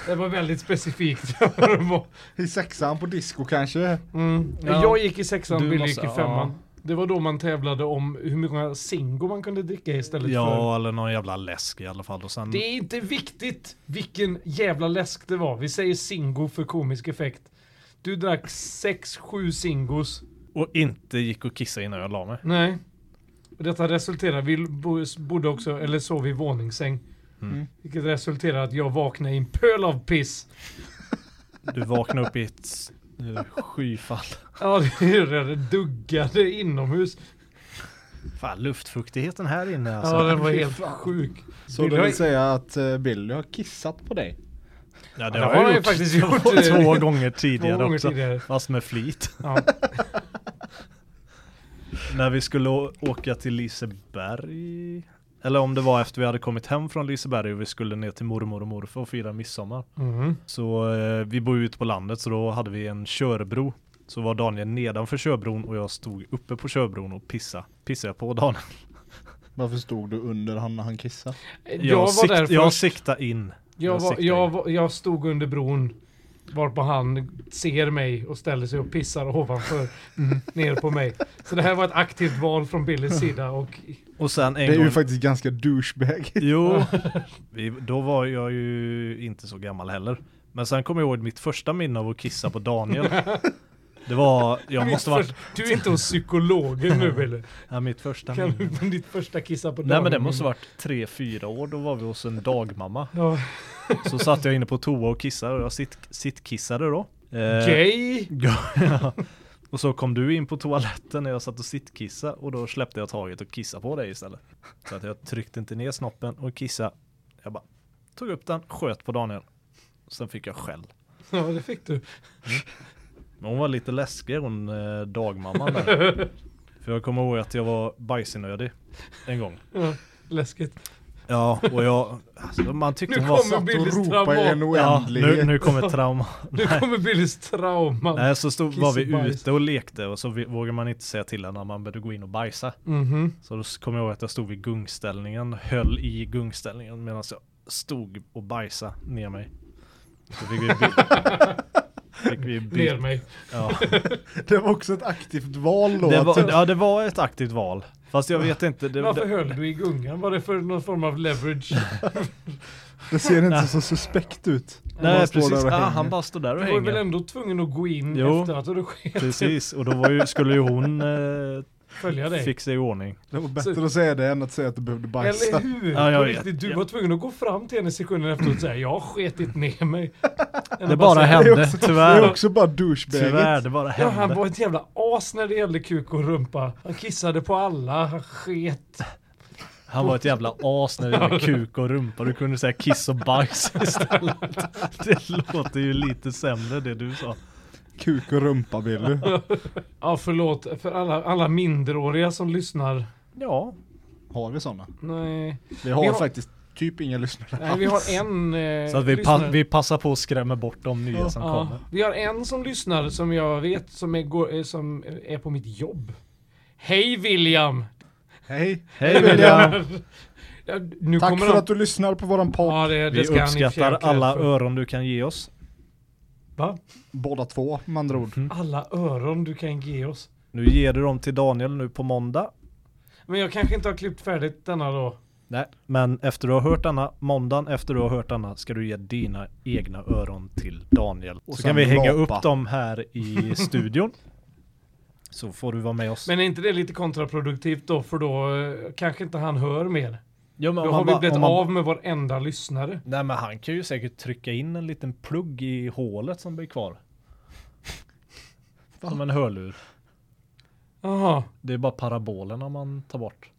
[SPEAKER 4] Det var väldigt specifikt. vad det var.
[SPEAKER 2] I sexan på disco kanske?
[SPEAKER 4] mm.
[SPEAKER 1] Ja.
[SPEAKER 4] Jag gick i sexan,
[SPEAKER 1] Du
[SPEAKER 4] Bill
[SPEAKER 1] måste-
[SPEAKER 4] gick i femman. Det var då man tävlade om hur många Zingo man kunde dricka istället för...
[SPEAKER 1] Ja, eller någon jävla läsk i alla fall. Och sen,
[SPEAKER 4] Det är inte viktigt vilken jävla läsk det var. Vi säger Zingo för komisk effekt. Du drack 6-7 singos.
[SPEAKER 1] Och inte gick och kissade innan jag la mig.
[SPEAKER 4] Nej. Och Detta resulterade, vi bo- bodde också, eller sov i våningssäng.
[SPEAKER 1] Mm.
[SPEAKER 4] Vilket resulterade att jag vaknade i en pöl av piss.
[SPEAKER 1] Du vaknade upp i ett s- eh, skyfall.
[SPEAKER 4] Ja, det det duggade inomhus.
[SPEAKER 1] Fan, luftfuktigheten här inne alltså.
[SPEAKER 4] Ja, den var helt sjuk.
[SPEAKER 2] Så
[SPEAKER 4] Vill
[SPEAKER 2] du
[SPEAKER 4] jag-
[SPEAKER 2] vill säga att eh, Billy har kissat på dig?
[SPEAKER 1] Ja,
[SPEAKER 4] det har jag ju faktiskt gjort.
[SPEAKER 1] två, två gånger tidigare
[SPEAKER 4] gånger
[SPEAKER 1] också.
[SPEAKER 4] tidigare.
[SPEAKER 1] Fast med flit.
[SPEAKER 4] Ja.
[SPEAKER 1] När vi skulle å- åka till Liseberg. Eller om det var efter vi hade kommit hem från Liseberg och vi skulle ner till mormor och morfar och fira midsommar.
[SPEAKER 4] Mm.
[SPEAKER 1] Så eh, vi bor ju ute på landet så då hade vi en körbro. Så var Daniel nedanför körbron och jag stod uppe på körbron och pissa. Pissade jag på Daniel.
[SPEAKER 2] Varför stod du under han när han kissade?
[SPEAKER 4] Jag,
[SPEAKER 1] Jag,
[SPEAKER 4] var
[SPEAKER 1] sikt,
[SPEAKER 4] där först.
[SPEAKER 1] jag siktade in.
[SPEAKER 4] jag, var,
[SPEAKER 1] siktade
[SPEAKER 4] jag,
[SPEAKER 1] in.
[SPEAKER 4] var, jag stod under bron. Varpå han ser mig och ställer sig och pissar ovanför.
[SPEAKER 1] Mm.
[SPEAKER 4] Ner på mig. Så det här var ett aktivt val från Billys sida. Och
[SPEAKER 1] Och sen en
[SPEAKER 2] Det är
[SPEAKER 1] gång...
[SPEAKER 2] ju faktiskt ganska douchebagigt.
[SPEAKER 1] Jo, vi, då var jag ju inte så gammal heller. Men sen kommer jag ihåg mitt första minne av att kissa på Daniel. Det var, jag måste varit,
[SPEAKER 4] Du är inte hos psykologen nu eller?
[SPEAKER 1] ja, mitt första
[SPEAKER 4] Kan
[SPEAKER 1] minne.
[SPEAKER 4] du ditt första kissa på dagen?
[SPEAKER 1] Nej men det måste varit tre, fyra år, då var vi hos en dagmamma.
[SPEAKER 4] Ja.
[SPEAKER 1] Så satt jag inne på toa och kissade och jag sitt, sittkissade då. Eh,
[SPEAKER 4] Gay?
[SPEAKER 1] ja. Och så kom du in på toaletten när jag satt och sittkissade och då släppte jag taget och kissade på dig istället. Så att jag tryckte inte ner snoppen och kissade. Jag bara tog upp den, sköt på Daniel. Sen fick jag skäll.
[SPEAKER 4] Ja det fick du.
[SPEAKER 1] Men hon var lite läskig hon eh, dagmamman där. För jag kommer ihåg att jag var bajsnödig en gång.
[SPEAKER 4] Ja, läskigt.
[SPEAKER 1] Ja, och jag, alltså, man tyckte
[SPEAKER 4] Nu
[SPEAKER 1] hon var
[SPEAKER 4] kommer
[SPEAKER 1] så...
[SPEAKER 4] Billys
[SPEAKER 2] Ropa i en
[SPEAKER 4] trauma.
[SPEAKER 1] Ja,
[SPEAKER 2] oändlighet.
[SPEAKER 1] nu, nu kommer trauma.
[SPEAKER 4] Nu kommer Billys trauma.
[SPEAKER 1] Nej, så stod, var vi
[SPEAKER 4] Kiss och bajs.
[SPEAKER 1] ute och lekte och så vi- vågade man inte säga till henne när man började gå in och bajsa.
[SPEAKER 4] Mhm.
[SPEAKER 1] Så då s- kommer jag ihåg att jag stod vid gungställningen, höll i gungställningen medan jag stod och bajsade ner mig. Så fick vi bild. fick vi
[SPEAKER 4] Ner
[SPEAKER 1] bild.
[SPEAKER 4] mig.
[SPEAKER 1] Ja.
[SPEAKER 2] Det var också ett aktivt val då.
[SPEAKER 1] Det var,
[SPEAKER 2] att-
[SPEAKER 1] ja, det var ett aktivt val. Fast jag vet inte. Det,
[SPEAKER 4] Varför
[SPEAKER 1] det,
[SPEAKER 4] höll du i gungan? Var det för någon form av leverage?
[SPEAKER 2] Det ser inte så suspekt ut.
[SPEAKER 1] nej,
[SPEAKER 2] Man står
[SPEAKER 1] precis.
[SPEAKER 2] där och
[SPEAKER 1] Ah,
[SPEAKER 2] hänger.
[SPEAKER 1] han bara stod där och
[SPEAKER 4] Du var väl
[SPEAKER 1] hängde.
[SPEAKER 4] ändå tvungen att gå in
[SPEAKER 1] Jo.
[SPEAKER 4] efter att du hade skett
[SPEAKER 1] Precis, och då var ju, skulle ju hon eh,
[SPEAKER 4] följa dig.
[SPEAKER 1] fixa i ordning.
[SPEAKER 2] Det var bättre att säga det än att säga att du behövde
[SPEAKER 4] Eller
[SPEAKER 2] bajsa.
[SPEAKER 4] hur?
[SPEAKER 1] Ja, jag
[SPEAKER 4] På
[SPEAKER 1] vet.
[SPEAKER 4] riktigt, du
[SPEAKER 1] Ja.
[SPEAKER 4] var tvungen att gå fram till henne sekunden efteråt och säga jag har sketit ner mig. Eller
[SPEAKER 1] Det bara
[SPEAKER 4] säga,
[SPEAKER 2] Det är
[SPEAKER 1] hände,
[SPEAKER 2] också- Det är
[SPEAKER 1] tyvärr.
[SPEAKER 2] också bara
[SPEAKER 1] Tyvärr,
[SPEAKER 2] douchebagigt.
[SPEAKER 1] det bara
[SPEAKER 4] Ja, han
[SPEAKER 1] hände.
[SPEAKER 4] var ett jävla as när det gällde kuk och rumpa. Han kissade på alla, han sket.
[SPEAKER 1] Han var ett jävla as när det gäller kuk och rumpa. Du kunde säga kiss och bajs istället. Det låter ju lite sämre det du sa.
[SPEAKER 2] Kuk och rumpa Billy.
[SPEAKER 4] Ja, förlåt för alla, alla minderåriga som lyssnar.
[SPEAKER 1] Ja,
[SPEAKER 2] Har vi sådana?
[SPEAKER 4] Nej,
[SPEAKER 2] Vi har,
[SPEAKER 4] Vi har-
[SPEAKER 2] faktiskt typ inga lyssnare
[SPEAKER 4] Nej vi har en eh,
[SPEAKER 1] så att vi, pa-
[SPEAKER 4] lyssnare.
[SPEAKER 1] vi passar på att skrämma bort de nya som
[SPEAKER 4] ja,
[SPEAKER 1] kommer.
[SPEAKER 4] vi har en som lyssnar som jag vet som är, går, eh, som är på mitt jobb. Hej William!
[SPEAKER 2] Hej!
[SPEAKER 1] Hej William!
[SPEAKER 4] Ja, nu
[SPEAKER 2] Tack
[SPEAKER 4] kommer
[SPEAKER 2] för
[SPEAKER 4] han-
[SPEAKER 2] att du lyssnar på våran podd.
[SPEAKER 4] Ja, det, det
[SPEAKER 1] Vi
[SPEAKER 4] ska han i och för sig
[SPEAKER 1] uppskattar
[SPEAKER 4] ha cred
[SPEAKER 1] alla
[SPEAKER 4] för.
[SPEAKER 1] öron du kan ge oss.
[SPEAKER 4] Va?
[SPEAKER 2] Båda två med andra ord.
[SPEAKER 4] Alla öron du kan ge oss.
[SPEAKER 1] Nu ger du dem till Daniel nu på måndag.
[SPEAKER 4] Men jag kanske inte har klippt färdigt denna då.
[SPEAKER 1] Nej, men efter du har hört denna, måndagen efter du har hört denna ska du ge dina egna öron till Daniel. så
[SPEAKER 2] sen
[SPEAKER 1] kan vi hänga
[SPEAKER 2] lapa.
[SPEAKER 1] upp dem här i studion. Så får du vara med oss.
[SPEAKER 4] Men är inte det lite kontraproduktivt då? För då eh, kanske inte han hör mer.
[SPEAKER 1] ja, men
[SPEAKER 4] Då
[SPEAKER 1] om
[SPEAKER 4] har
[SPEAKER 1] han
[SPEAKER 4] vi
[SPEAKER 1] bara-
[SPEAKER 4] blivit
[SPEAKER 1] om han-
[SPEAKER 4] av med varenda lyssnare.
[SPEAKER 1] Nej men han kan ju säkert trycka in en liten plugg i hålet som blir kvar. Som en hörlur.
[SPEAKER 4] Jaha,
[SPEAKER 1] Det är bara parabolerna man tar bort.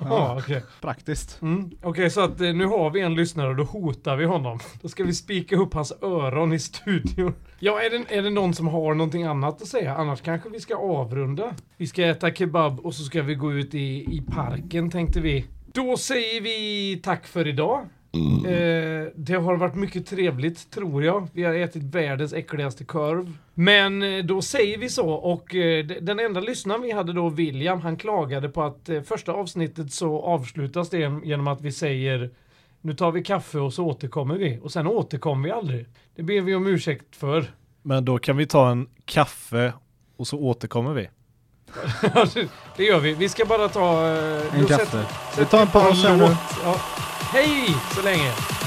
[SPEAKER 4] ja, okej.
[SPEAKER 2] Praktiskt.
[SPEAKER 4] Mm. Okej, så att eh, nu har vi en lyssnare och då hotar vi honom. Då ska vi spika upp hans öron i studion. Ja, är det, är det någon som har någonting annat att säga? Annars kanske vi ska avrunda. Vi ska äta kebab och så ska vi gå ut i, i parken tänkte vi. Då säger vi tack för idag. Eh, det har varit mycket trevligt tror jag. Vi har ätit världens äckligaste korv. Men eh, då säger vi så och eh, d- den enda lyssnaren vi hade då, William, han klagade på att eh, första avsnittet så avslutas det genom att vi säger nu tar vi kaffe och så återkommer vi och sen återkommer vi aldrig. Det ber vi om ursäkt för.
[SPEAKER 1] Men då kan vi ta en kaffe och så återkommer vi.
[SPEAKER 4] det gör vi. Vi ska bara ta... eh,
[SPEAKER 2] En
[SPEAKER 4] då
[SPEAKER 2] kaffe. Vi tar en paus här
[SPEAKER 4] sätter-
[SPEAKER 2] nu.
[SPEAKER 4] Ja. Hej så länge!